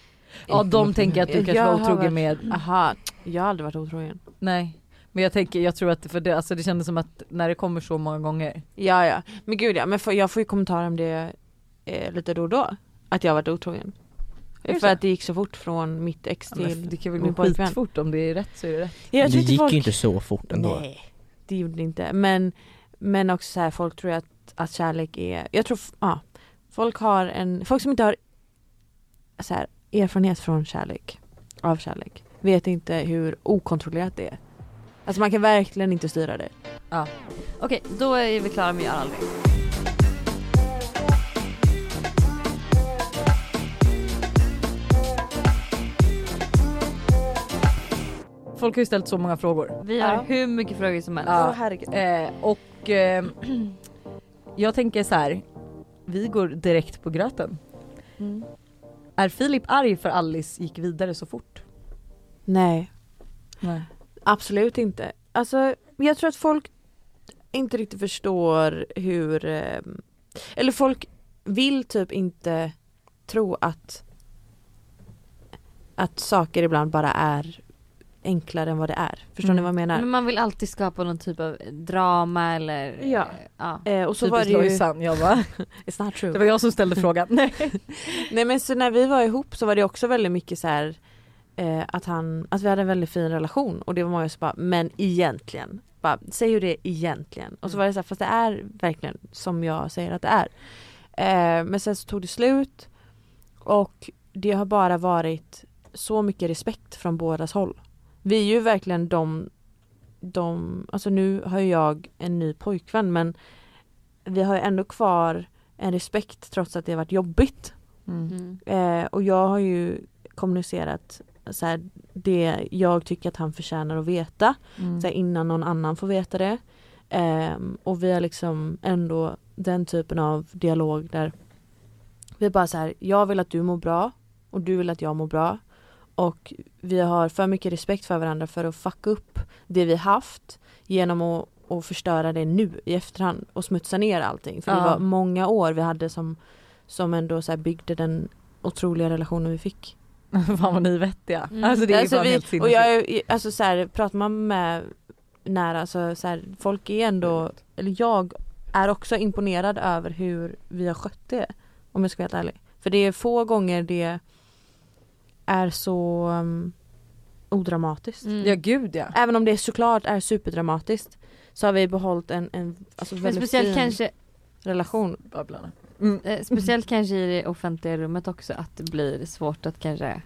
B: Ja de tänker att du kanske
E: Jag
B: var
E: har
B: otrogen
E: varit- Mm.
B: med
E: Aha, jag har aldrig varit otrogen.
B: Nej. Men jag tänker, jag tror att för det, alltså det kändes som att när det kommer så många gånger.
E: Ja ja, men gud ja, men får- jag får ju kommentarer om det eh, lite då och då. Att jag har varit otrogen.
B: Är det
E: För
B: så?
E: att det gick så fort från mitt ex
B: Ja, men
E: till...
B: det kan väl
E: min
B: gå
E: pojkvän.
B: skitfort om det är rätt så är det rätt.
E: Ja, jag
F: det
E: tror inte
F: gick
E: folk-
F: ju inte så fort ändå.
E: Nej, det gjorde det inte. Men, men också så här, folk tror ju att, att kärlek är... Jag tror, f- ja. Folk har en... Folk som inte har så här, erfarenhet från kärlek, av kärlek, vet inte hur okontrollerat det är. Alltså man kan verkligen inte styra det.
C: Okej då är vi klara med jag har aldrig.
B: Folk har ju ställt så många frågor.
C: Vi har
E: Ja.
C: hur mycket frågor som helst.
B: Ja. Åh,
E: herregud.
B: Eh, och eh, jag tänker så här. vi går direkt på gröten.
C: Mm.
B: Är Filip arg för Alice gick vidare så fort?
E: Nej,
B: Nej.
E: absolut inte. Alltså jag tror att folk inte riktigt förstår hur... eh, Eller folk vill typ inte tro att att saker ibland bara är enklare än vad det är. Förstår
B: Mm.
E: ni vad jag menar?
C: Men man vill alltid skapa någon typ av drama eller
E: Ja.
C: ja.
E: Eh, och så var
B: Typiskt
E: det ju...
B: Lojsan, jag bara,
E: It's not
B: det
E: true.
B: var jag som ställde frågan. Nej.
E: Nej men så när vi var ihop så var det också väldigt mycket så här eh, att han, att vi hade en väldigt fin relation och det var många som bara, men egentligen. bara, säg hur det är egentligen. Och så var det så här, fast det är verkligen som jag säger att det är. Eh, men sen så tog det slut och det har bara varit så mycket respekt från bådas håll. Vi är ju verkligen de, de alltså nu har ju jag en ny pojkvän men vi har ju ändå kvar en respekt trots att det har varit jobbigt.
C: Mm.
E: Eh, och jag har ju kommunicerat så här, det jag tycker att han förtjänar att veta
B: Mm.
E: så här, innan någon annan får veta det. Ehm, och vi har liksom ändå den typen av dialog där vi bara så här, jag vill att du mår bra och du vill att jag mår bra. Och vi har för mycket respekt för varandra för att fucka upp det vi haft genom att, att förstöra det nu i efterhand och smutsa ner allting. För det
B: Ja.
E: var många år vi hade som, som ändå så här byggde den otroliga relationen vi fick.
B: fan vad ni är vettiga.
C: Mm.
B: Alltså det är
E: Alltså,
B: fan
E: vi-
B: helt
E: Och
B: sinnessjukt.
E: jag är, alltså så här, pratar man med nära alltså, så, så här, folk är
B: Mm.
E: ändå, eller jag är också imponerad över hur vi har skött det. Om jag ska vara helt ärlig. För det är få gånger det är så um, odramatiskt.
C: Mm.
B: Ja gud ja.
E: Även om det såklart är superdramatiskt så har vi behållit en, en alltså
C: Men
E: väldigt
C: speciellt
E: fin Mm.
C: kanske,
E: relation.
B: Babblarna.
C: eh, speciellt kanske i det offentliga rummet också att det blir svårt att kanske,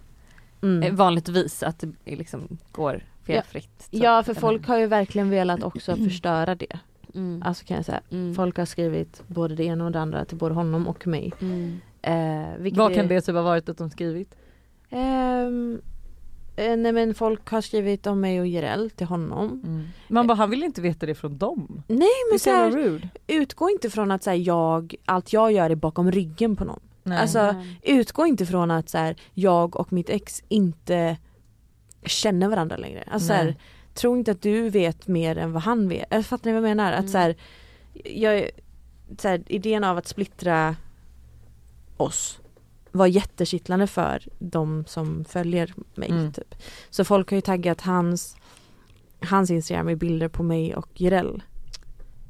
E: Mm.
C: eh, vanligtvis att det är liksom går felfritt. så
E: Ja
C: att-
E: för folk har ju verkligen velat också förstöra det.
C: Mm.
E: Alltså kan jag säga.
C: Mm.
E: Folk har skrivit både det ena och det andra till både honom och mig.
C: Mm.
E: Eh, vilket
B: Vad
E: är-
B: kan det typ ha varit att de skrivit?
E: Ehm, eh, nej men folk har skrivit om mig och Jireel till honom.
B: Man bara han vill inte veta det från dem.
E: Mm. Nej men så här,
B: rude.
E: utgå inte från att så här, jag, allt jag gör är bakom ryggen på någon.
B: Nej.
E: Alltså
C: Nej.
E: utgå inte från att så här, jag och mitt ex inte känner varandra längre. Alltså, så här,
B: Nej.
E: tro inte att du vet mer än vad han vet. Äh, Fattar ni vad jag menar? Att, så här, jag, så här, idén av att splittra oss var jättekittlande för de som följer mig.
B: Mm.
E: Typ. Så folk har ju taggat hans, hans Instagram med bilder på mig och Jireel.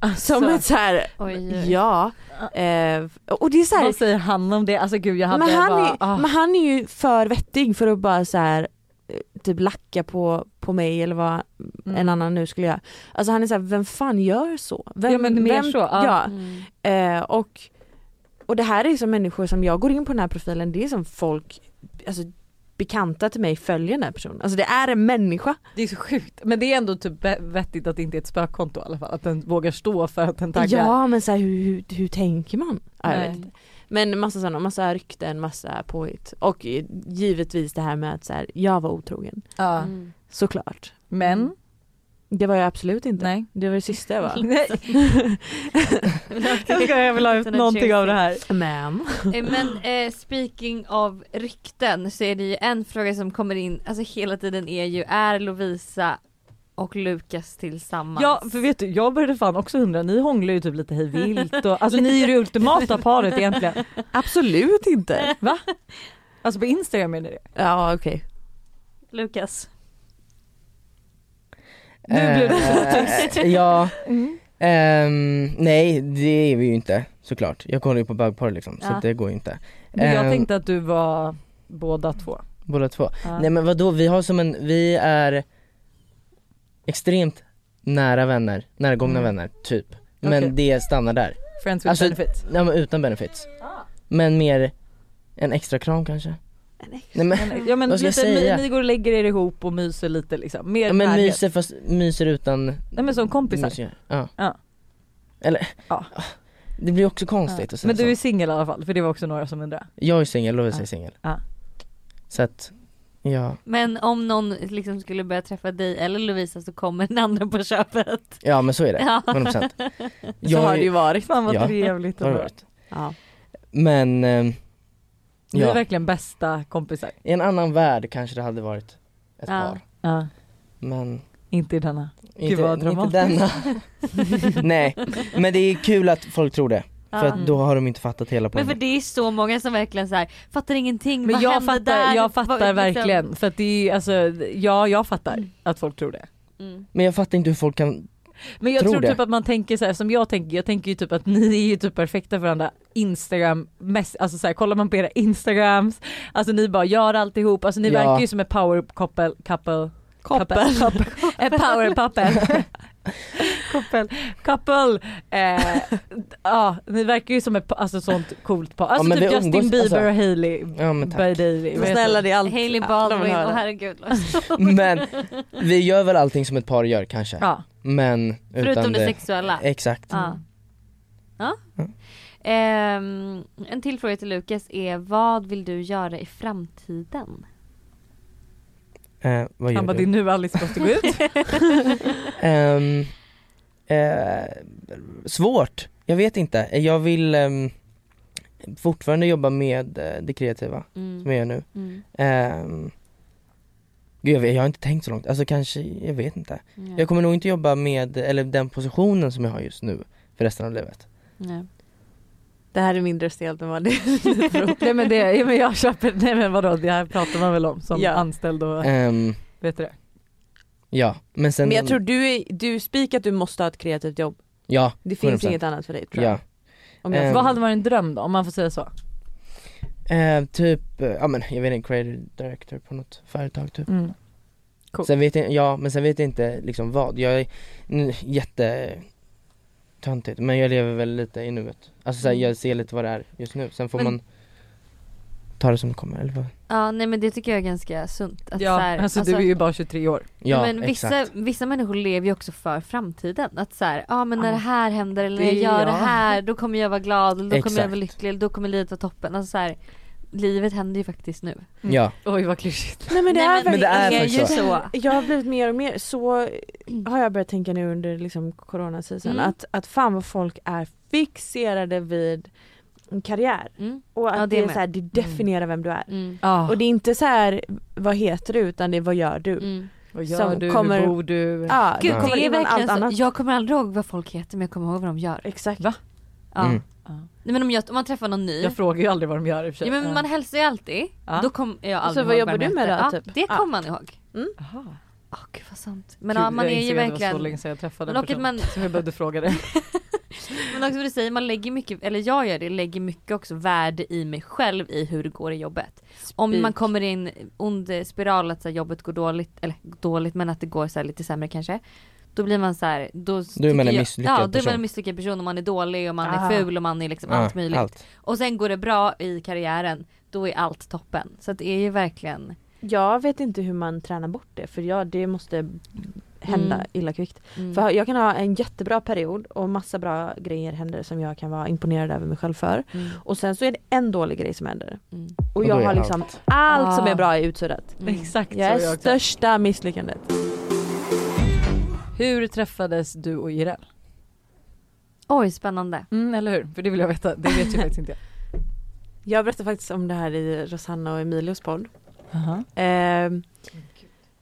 B: Alltså,
E: Som ett så här,
C: Oj, oj.
E: ja. Eh, och det är så här,
B: Vad säger han om det? Alltså gud jag hade
E: men, han
B: bara,
E: är,
B: ah.
E: men han är ju för vettig för att bara så här eh, typ lacka på, på mig eller vad
B: Mm.
E: en annan nu skulle göra. Alltså han är såhär, vem fan gör så? Vem,
B: Ja, men mer
E: vem,
B: så, ja.
C: Mm.
E: Ja, eh, och, och det här är som människor som jag går in på den här profilen, det är som folk, alltså bekanta till mig följer den här personen. Alltså det är en människa.
B: Det är så sjukt. Men det är ändå typ ve- vettigt att det inte är ett spökkonto i alla fall. Att den vågar stå för att den taggar.
E: Ja men så här, hur, hur, hur tänker man? Ja,
C: Mm.
E: jag
B: Nej.
E: vet inte. Men massa sådana, massa rykten, massa påhitt. Och eh, givetvis det här med att så här, jag var otrogen.
B: Ja.
C: Mm.
E: Såklart.
B: Men
E: Det var jag absolut inte.
B: nej.
E: Det var det sista jag var.
B: nej. Jag, ska, jag vill ha ut
C: Sådana
B: någonting av det här.
E: Men.
C: Eh, Men eh, speaking av rykten så är det ju en fråga som kommer in alltså hela tiden är ju är Lovisa och Lukas tillsammans?
B: Ja för vet du jag började fan också undra, ni hånglar ju typ lite hej vilt och alltså ni är ju det ultimata paret egentligen.
E: Absolut inte.
B: Va? Alltså på Instagram menar det?
E: Ja okej.
C: Lukas.
B: Nu blev det
F: Eh, Ja, ehm, nej det är vi ju inte såklart. Jag kollar ju på bögporr liksom så
C: Ja.
F: att det går ju inte.
B: Men jag
F: Ehm,
B: tänkte att du var båda två.
F: Båda två.
B: Ja.
F: Nej men vadå, vi har som en, vi är extremt nära vänner, närgångna
B: Mm.
F: vänner typ. Men
B: Okej.
F: det stannar där.
B: Friends with
F: Alltså-
B: benefits.
F: Ja, men utan benefits.
B: Ah.
F: Men mer en extra kram kanske. Nej, men,
B: Men, ja men
F: Vad ska jag
B: lite, ni,
F: säga?
B: ni går och lägger er ihop och myser lite liksom. Mer
F: ja, men
B: närhet.
F: myser fast myser utan
B: Nej men som kompisar.
F: myser. Ja.
B: Ja.
F: Eller,
B: Ja.
F: det blir också konstigt att säga
B: Men
F: så.
B: du är singel i alla fall för det var också några som undrade.
F: Jag är singel, Lovisa
B: Ja.
F: är singel.
B: Ja.
F: Så att, ja,
C: Men om någon liksom skulle börja träffa dig eller Lovisa så kommer den andra på köpet.
F: ja men så är det.
C: Ja.
F: 100%.
E: Så
F: Jag
E: har
F: är-
E: det ju varit.
B: Fan vad
F: Ja.
B: trevligt.
F: har
B: och
F: det
B: bra.
F: varit.
E: Ja.
F: Men, ehm,
B: Ni är
F: ja.
B: verkligen bästa kompisar.
F: I en annan värld kanske det hade varit
C: Ja.
F: ett par.
B: Ja.
F: Men
B: Inte i denna. Gud,
F: inte,
B: vad
F: inte
B: dramatiskt.
F: denna. Nej, men det är kul att folk tror det. För
C: Ja. Mm.
F: att då har de inte fattat hela
C: Men
F: poängen.
C: för det är så många som verkligen så här, fattar ingenting,
B: Men
C: vad
B: jag
C: hände
B: fattar,
C: där?
B: jag
C: Vad-
B: fattar
C: liksom-
B: verkligen för att det är alltså, ja jag fattar att folk tror det.
C: Mm.
F: Men jag fattar inte hur folk kan,
B: Men jag tror,
F: Tror det.
B: typ att man tänker så här som jag tänker, jag tänker ju typ att ni är ju typ perfekta för varandra Instagram, mess, alltså så här, kollar man på era instagrams, alltså ni bara gör alltihop, alltså ni
F: Ja.
B: verkar ju som ett power couple, couple Couple. Couple. Ett power couple. Couple. Couple. Eh, ja, ni verkar ju som ett pa- alltså, sånt coolt par. Alltså
F: men
B: typ
F: vi
B: Justin
F: umgås-
B: Bieber
F: alltså-
B: och Hailey
F: Ja men tack.
B: Bailey.
E: Men snälla det är allt.
C: Hailey
E: allt de
C: Baldwin,
E: vill höra.
C: och herregud. Lars.
F: Men vi gör väl allting som ett par gör kanske.
B: Ja.
F: Men
C: Förutom
F: utan
C: det sexuella.
F: Exakt.
C: Ja.
B: Mm.
C: Ja. Ehm, en till fråga till Lukas är vad vill du göra i framtiden?
F: Eh, vad gör
B: Han bara, det
F: du?
B: är nu Alice måste gå ut.
F: Ehm, eh, svårt. Jag vet inte. Jag vill ehm, fortfarande jobba med eh, det kreativa som
C: Mm.
F: jag gör nu.
C: Mm.
F: Ehm, gud, jag, vet, jag har inte tänkt så långt. Alltså kanske, jag vet inte.
C: Ja.
F: Jag kommer nog inte jobba med, eller den positionen som jag har just nu för resten av livet.
C: Ja.
E: Det här är mindre stelt än vad det är.
B: nej men det, ja, men jag köper, nej men vadå det här pratar man väl om som
E: Ja.
B: anställd och
F: Ehm,
B: vet du det.
F: ja, men sen...
E: Men jag tror du, är, du spikar att du måste ha ett kreativt jobb.
F: Ja,
E: Det finns
F: 100%.
E: inget annat för dig tror jag.
F: ja.
E: Om jag
F: Eh,
B: Vad hade varit en dröm då om man får säga så?
F: Eh, typ, eh, ja men jag vet inte, creative director på något företag typ.
B: Mm. Cool.
F: Sen vet jag, ja men sen vet jag inte liksom vad. Jag är mm, jätte töntigt men jag lever väl lite i nuet. Alltså såhär, jag ser lite vad det är just nu. Sen får
C: Mm. Men-
F: man ta det som det kommer eller vad?
C: ja, nej men det tycker jag är ganska sunt. Att
B: Ja,
C: så här,
B: alltså, du är ju bara 23 år.
F: Ja
C: men vissa,
F: exakt.
C: vissa människor lever ju också för framtiden. Att så här, ja men när
B: Ja.
C: det här händer eller när jag
B: Det-
C: gör det
B: ja.
C: här då kommer jag vara glad, eller då kommer jag vara
F: Exakt.
C: lycklig, eller då kommer livet vara toppen. Alltså så här, livet händer ju faktiskt nu.
F: Ja,
B: Oj vad klyschigt.
E: Nej men det
C: Nej,
E: är
C: men-
F: Men det är
E: verkligen-
F: faktiskt
C: så.
E: Jag har blivit mer och mer, så har jag börjat tänka nu under liksom coronasisen
C: Mm.
E: att, att fan vad folk är fixerade vid en karriär.
C: Mm.
E: Och att
C: Ja, det
E: det, är
C: med.
E: så här, det definierar vem du är.
C: Mm.
B: Ah.
E: Och det är inte så här vad heter du utan det är vad gör du.
C: Mm.
B: Vad gör
E: som
B: du,
E: kommer-
B: hur bor du?
E: Ja,
C: Gud,
E: kommer
C: det är
E: in bland
C: verkligen
E: allt
C: så.
E: annat.
C: Jag kommer aldrig ihåg vad folk heter men jag kommer ihåg vad de gör.
E: Exakt.
B: Va?
C: Ja.
F: Mm.
B: Ja.
C: Nej, men om, jag, om man träffar någon ny,
B: Jag frågar ju aldrig vad de gör i och för sig.
C: ja, men man hälsar ju alltid.
B: Ja.
C: Då kommer jag aldrig
E: Så vad
C: ihåg
E: jobbar
C: de
E: du med
C: heter.
E: då,
C: Ja,
E: typ?
C: det
E: Ja.
C: kommer man ihåg.
B: Aha. Gud,
C: Åh gud vad sant. Men ja, man
B: jag
C: är ju
B: insåg att Det var så
C: verkligen,
B: länge sedan jag träffade
C: Men
B: en
C: och att
B: person
C: man-
B: som jag behövde fråga det.
C: men också som du säger, man lägger mycket, eller jag gör det, lägger mycket också värde i mig själv i hur det går i jobbet. Om man kommer in i en ond spiral att så här, jobbet går dåligt, eller dåligt men att det går så här, lite sämre kanske. Då blir man så här, då, tycker
F: man en
C: jag-
F: misslyckad
C: Ja, då är man en
F: person.
C: misslyckad person och man är dålig och man
B: Ah.
C: är ful och man är liksom allt
F: Ja,
C: möjligt.
F: allt.
C: Och sen går det bra i karriären, då är allt toppen. Så att det är ju verkligen
E: Jag vet inte hur man tränar bort det för jag, det måste hända
C: Mm.
E: illa kvickt.
C: mm.
E: För jag kan ha en jättebra period och massa bra grejer händer som jag kan vara imponerad över mig själv för.
C: Mm.
E: Och sen så är det en dålig grej som händer.
C: Mm.
E: Och
F: Och
E: jag
F: då är
E: har liksom allt, som är bra är utsuddat.
C: Mm.
B: Exakt
E: Jag
B: så
E: är
B: jag också.
E: största misslyckandet.
B: Hur träffades du och Jireel?
C: Oj, spännande.
B: Mm, eller hur? För det vill jag veta. Det vet ju faktiskt inte jag.
E: Jag berättade faktiskt om det här i Rosanna och Emilios podd.
B: Aha.
E: Ehm,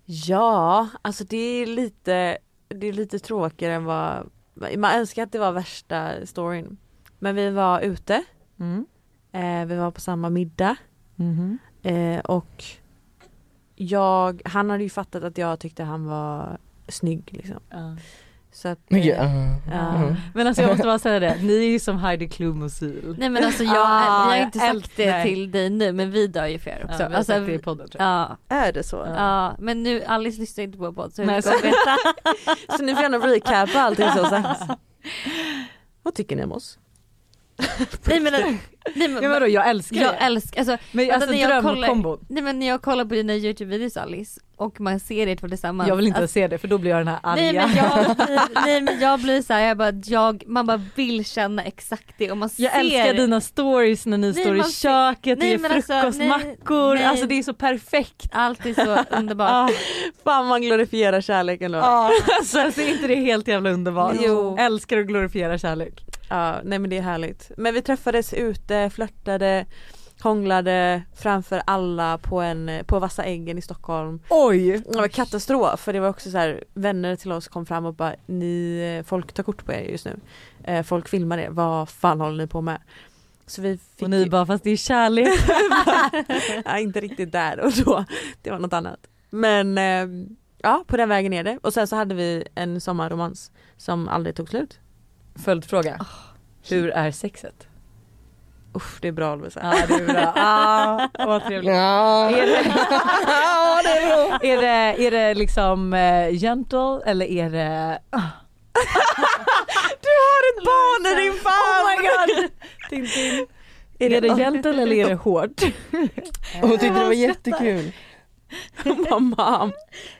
E: ja, alltså det är lite, det är lite tråkigare än vad, man önskar att det var värsta storyn. Men vi var ute,
B: Mm.
E: eh, vi var på samma middag
B: Mhm.
E: eh, och jag, han hade ju fattat att jag tyckte han var snygg liksom.
B: Ja.
E: Så att,
F: Men
E: eh,
F: gud, ah.
E: ja.
B: Men alltså jag måste bara säga det, ni är ju som Heidi Klum och Sil.
C: Nej men alltså jag,
E: Ah,
C: vi har
E: jag
C: inte sagt
B: älskar-
C: det
B: Nej.
C: till dig nu men vi dör ju för er också.
B: Ja, vi har
C: alltså,
B: sagt det i podden tror jag.
C: ja,
E: Är det så?
C: ja, men nu Alice lyssnar inte på podd så
B: Nej,
C: Nej,
B: så-
C: så veta.
E: Så nu får jag nog recapa allting som sagts. Vad tycker ni om oss?
C: Nej men, nej, men,
B: Ja, vadå, jag älskar
C: jag
B: det.
C: älskar, alltså,
B: Men
C: Vänta,
B: alltså
C: när jag kollar-
B: drömkombon.
C: nej men när jag kollar på dina Youtube-videos Alice och man ser er två tillsammans.
B: Jag vill inte
C: alltså,
B: ens se det för då blir jag den här arga.
C: Nej men, jag blir, nej men jag blir så här, jag bara, jag, man bara vill känna exakt det och man
B: Jag
C: ser
B: älskar dina stories när ni
C: Nej,
B: står i
C: man-
B: köket och
C: Nej,
B: gör
C: men alltså,
B: frukostmackor.
C: nej, nej.
B: Alltså det är så perfekt.
C: allt är så underbart.
B: Ah,
E: Fan man glorifierar kärleken då.
B: ah. Alltså, alltså är inte det helt jävla underbart?
C: Jo.
B: Älskar och glorifierar kärlek.
E: Ja, nej men det är härligt. Men vi träffades ute, flörtade, hånglade framför alla på, en, på Vassa äggen i Stockholm.
B: Oj!
E: Det var katastrof för det var också så här, vänner till oss kom fram och bara ni, eh, folk tar kort på er just nu. Eh, Folk filmar er, vad fan håller ni på med? Så vi fick
B: Och ni bara fast det är kärlek.
E: ja, inte riktigt där och då, det var något annat. Men eh, ja, på den vägen är det. Och sen så hade vi en sommarromans som aldrig tog slut.
B: Följdfråga. Hur är sexet?
E: Usch det är bra Lovisa.
B: Ja det är bra. Ah, vad trevligt.
F: Ja.
B: Är det, är det, är det liksom eh, gentle eller är det ah, har ett barn i din famn! Oh my god!
G: Tintin.
B: Är det hjälten eller är det hårt?
F: Hon tyckte det var jättekul.
E: Mamma.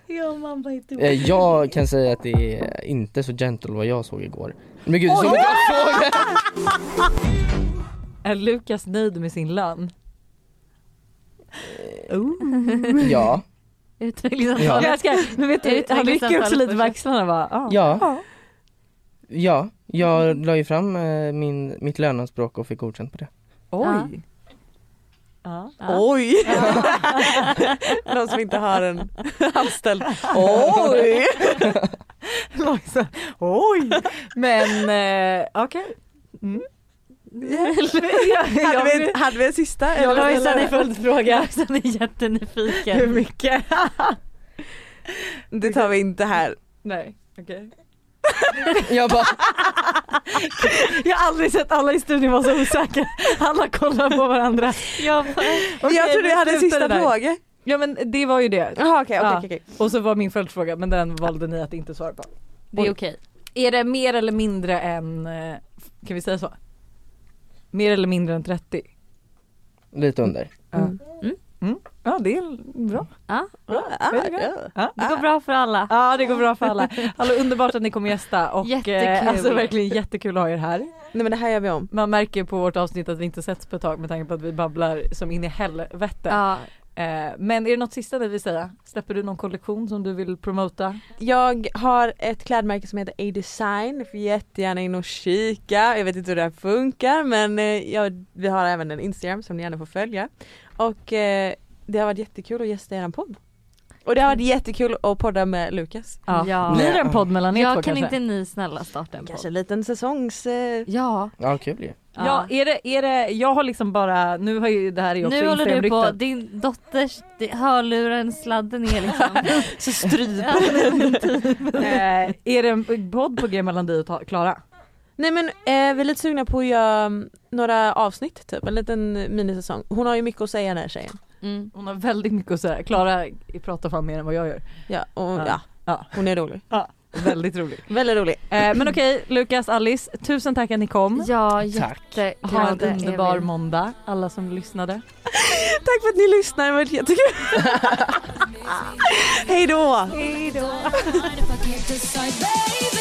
G: Ja mamma inte
F: Eh, Jag kan säga att det är inte så gentle vad jag såg igår. Men gud, du såg jag såg!
B: Är Lukas nöjd med sin lön?
F: Ja,
B: Ja.
C: Utvecklingssamtalet.
B: Jag älskar, men vet
C: Är
B: du,
C: det
B: han rycker också
C: utvecklingssamtalet
B: lite
C: först?
B: med axlarna och bara. Ah.
F: ja. Ja, jag la ju fram eh, min, mitt löneanspråk och fick godkänt på det.
B: Oj. Ja.
E: Oj! Någon som inte har en anställd. Oj!
B: Lojsan, Oj! Men eh, okej. Mm.
E: Hade
B: jag,
E: vi, en- hade vi en sista? eller?
C: Lojsan är
B: följdfråga.
C: Sen är
B: Hur
C: jättenyfiken.
B: mycket?
E: Det tar vi inte här.
B: Nej, okej.
F: Jag bara,
B: Jag har aldrig sett alla i studion vara så osäkra. Alla kollar på varandra.
C: Jag
B: Okej,
E: jag trodde
B: vi
E: jag hade
B: slutar
E: en sista
B: det där.
E: fråga.
B: Ja men det var ju det.
E: Jaha okej,
B: Ja.
E: okej, okej.
B: Och så var min följdfråga men den valde ni att inte svara på.
C: Det är okej.
B: Är det mer eller mindre än, eh, kan vi säga så? Mer eller mindre än 30?
F: lite under.
B: Mm. Mm. Ja det är bra.
C: Ja,
B: Väldigt bra. Ja.
C: det går bra för alla.
B: Ja det går bra för alla. Alltså, underbart att ni kommer gästa och
C: Jättekul.
B: eh, alltså, verkligen jättekul att ha er här.
E: Nej men det här gör vi om.
B: Man märker på vårt avsnitt att vi inte setts på ett tag med tanke på att vi babblar som in i helvete.
C: Ja,
B: Eh, men är det något sista ni vill säga? Släpper du någon kollektion som du vill promota?
E: Jag har ett klädmärke som heter A-design, Ni får jättegärna in och kika. Jag vet inte hur det här funkar men eh, jag, vi har även en Instagram som ni gärna får följa. Och eh, det har varit jättekul att gästa er podd. Och det har varit jättekul att podda med Lukas.
B: Ja.
C: Ja.
B: Blir det en podd mellan er
C: jag
B: två
C: kan
B: kanske?
C: inte ni snälla starta en
E: Kanske
C: podd?
E: en liten säsongs... Eh,
C: Ja.
F: Ja, kul ju.
B: Ja, är det, är det, jag har liksom bara, nu har ju det här är ju också
C: Nu håller du på,
B: Instagram-ryktat.
C: din dotters di- hörluren, sladden är liksom.
E: så stryp.
B: Eh, är det en podd på g mellan dig och ta- Klara?
E: Nej men eh, vi är lite sugna på att göra mm, några avsnitt typ, en liten minisäsong. Hon har ju mycket att säga den här tjejen.
C: Mm.
B: Hon har väldigt mycket att säga. Klara pratar fan mer än vad jag gör.
E: Ja, och,
B: Ja.
E: ja.
B: Ja.
E: hon är rolig.
B: Väldigt rolig.
E: Väldigt rolig.
B: Eh, men okej, Lukas, Alice, tusen tack att ni kom.
C: Ja,
F: Tack.
C: jätteglada
B: Ha en
C: är vi.
B: underbar måndag, alla som lyssnade.
E: Tack för att ni lyssnar, det var jättekul. Hej då!
A: Hard if I can't decide, baby.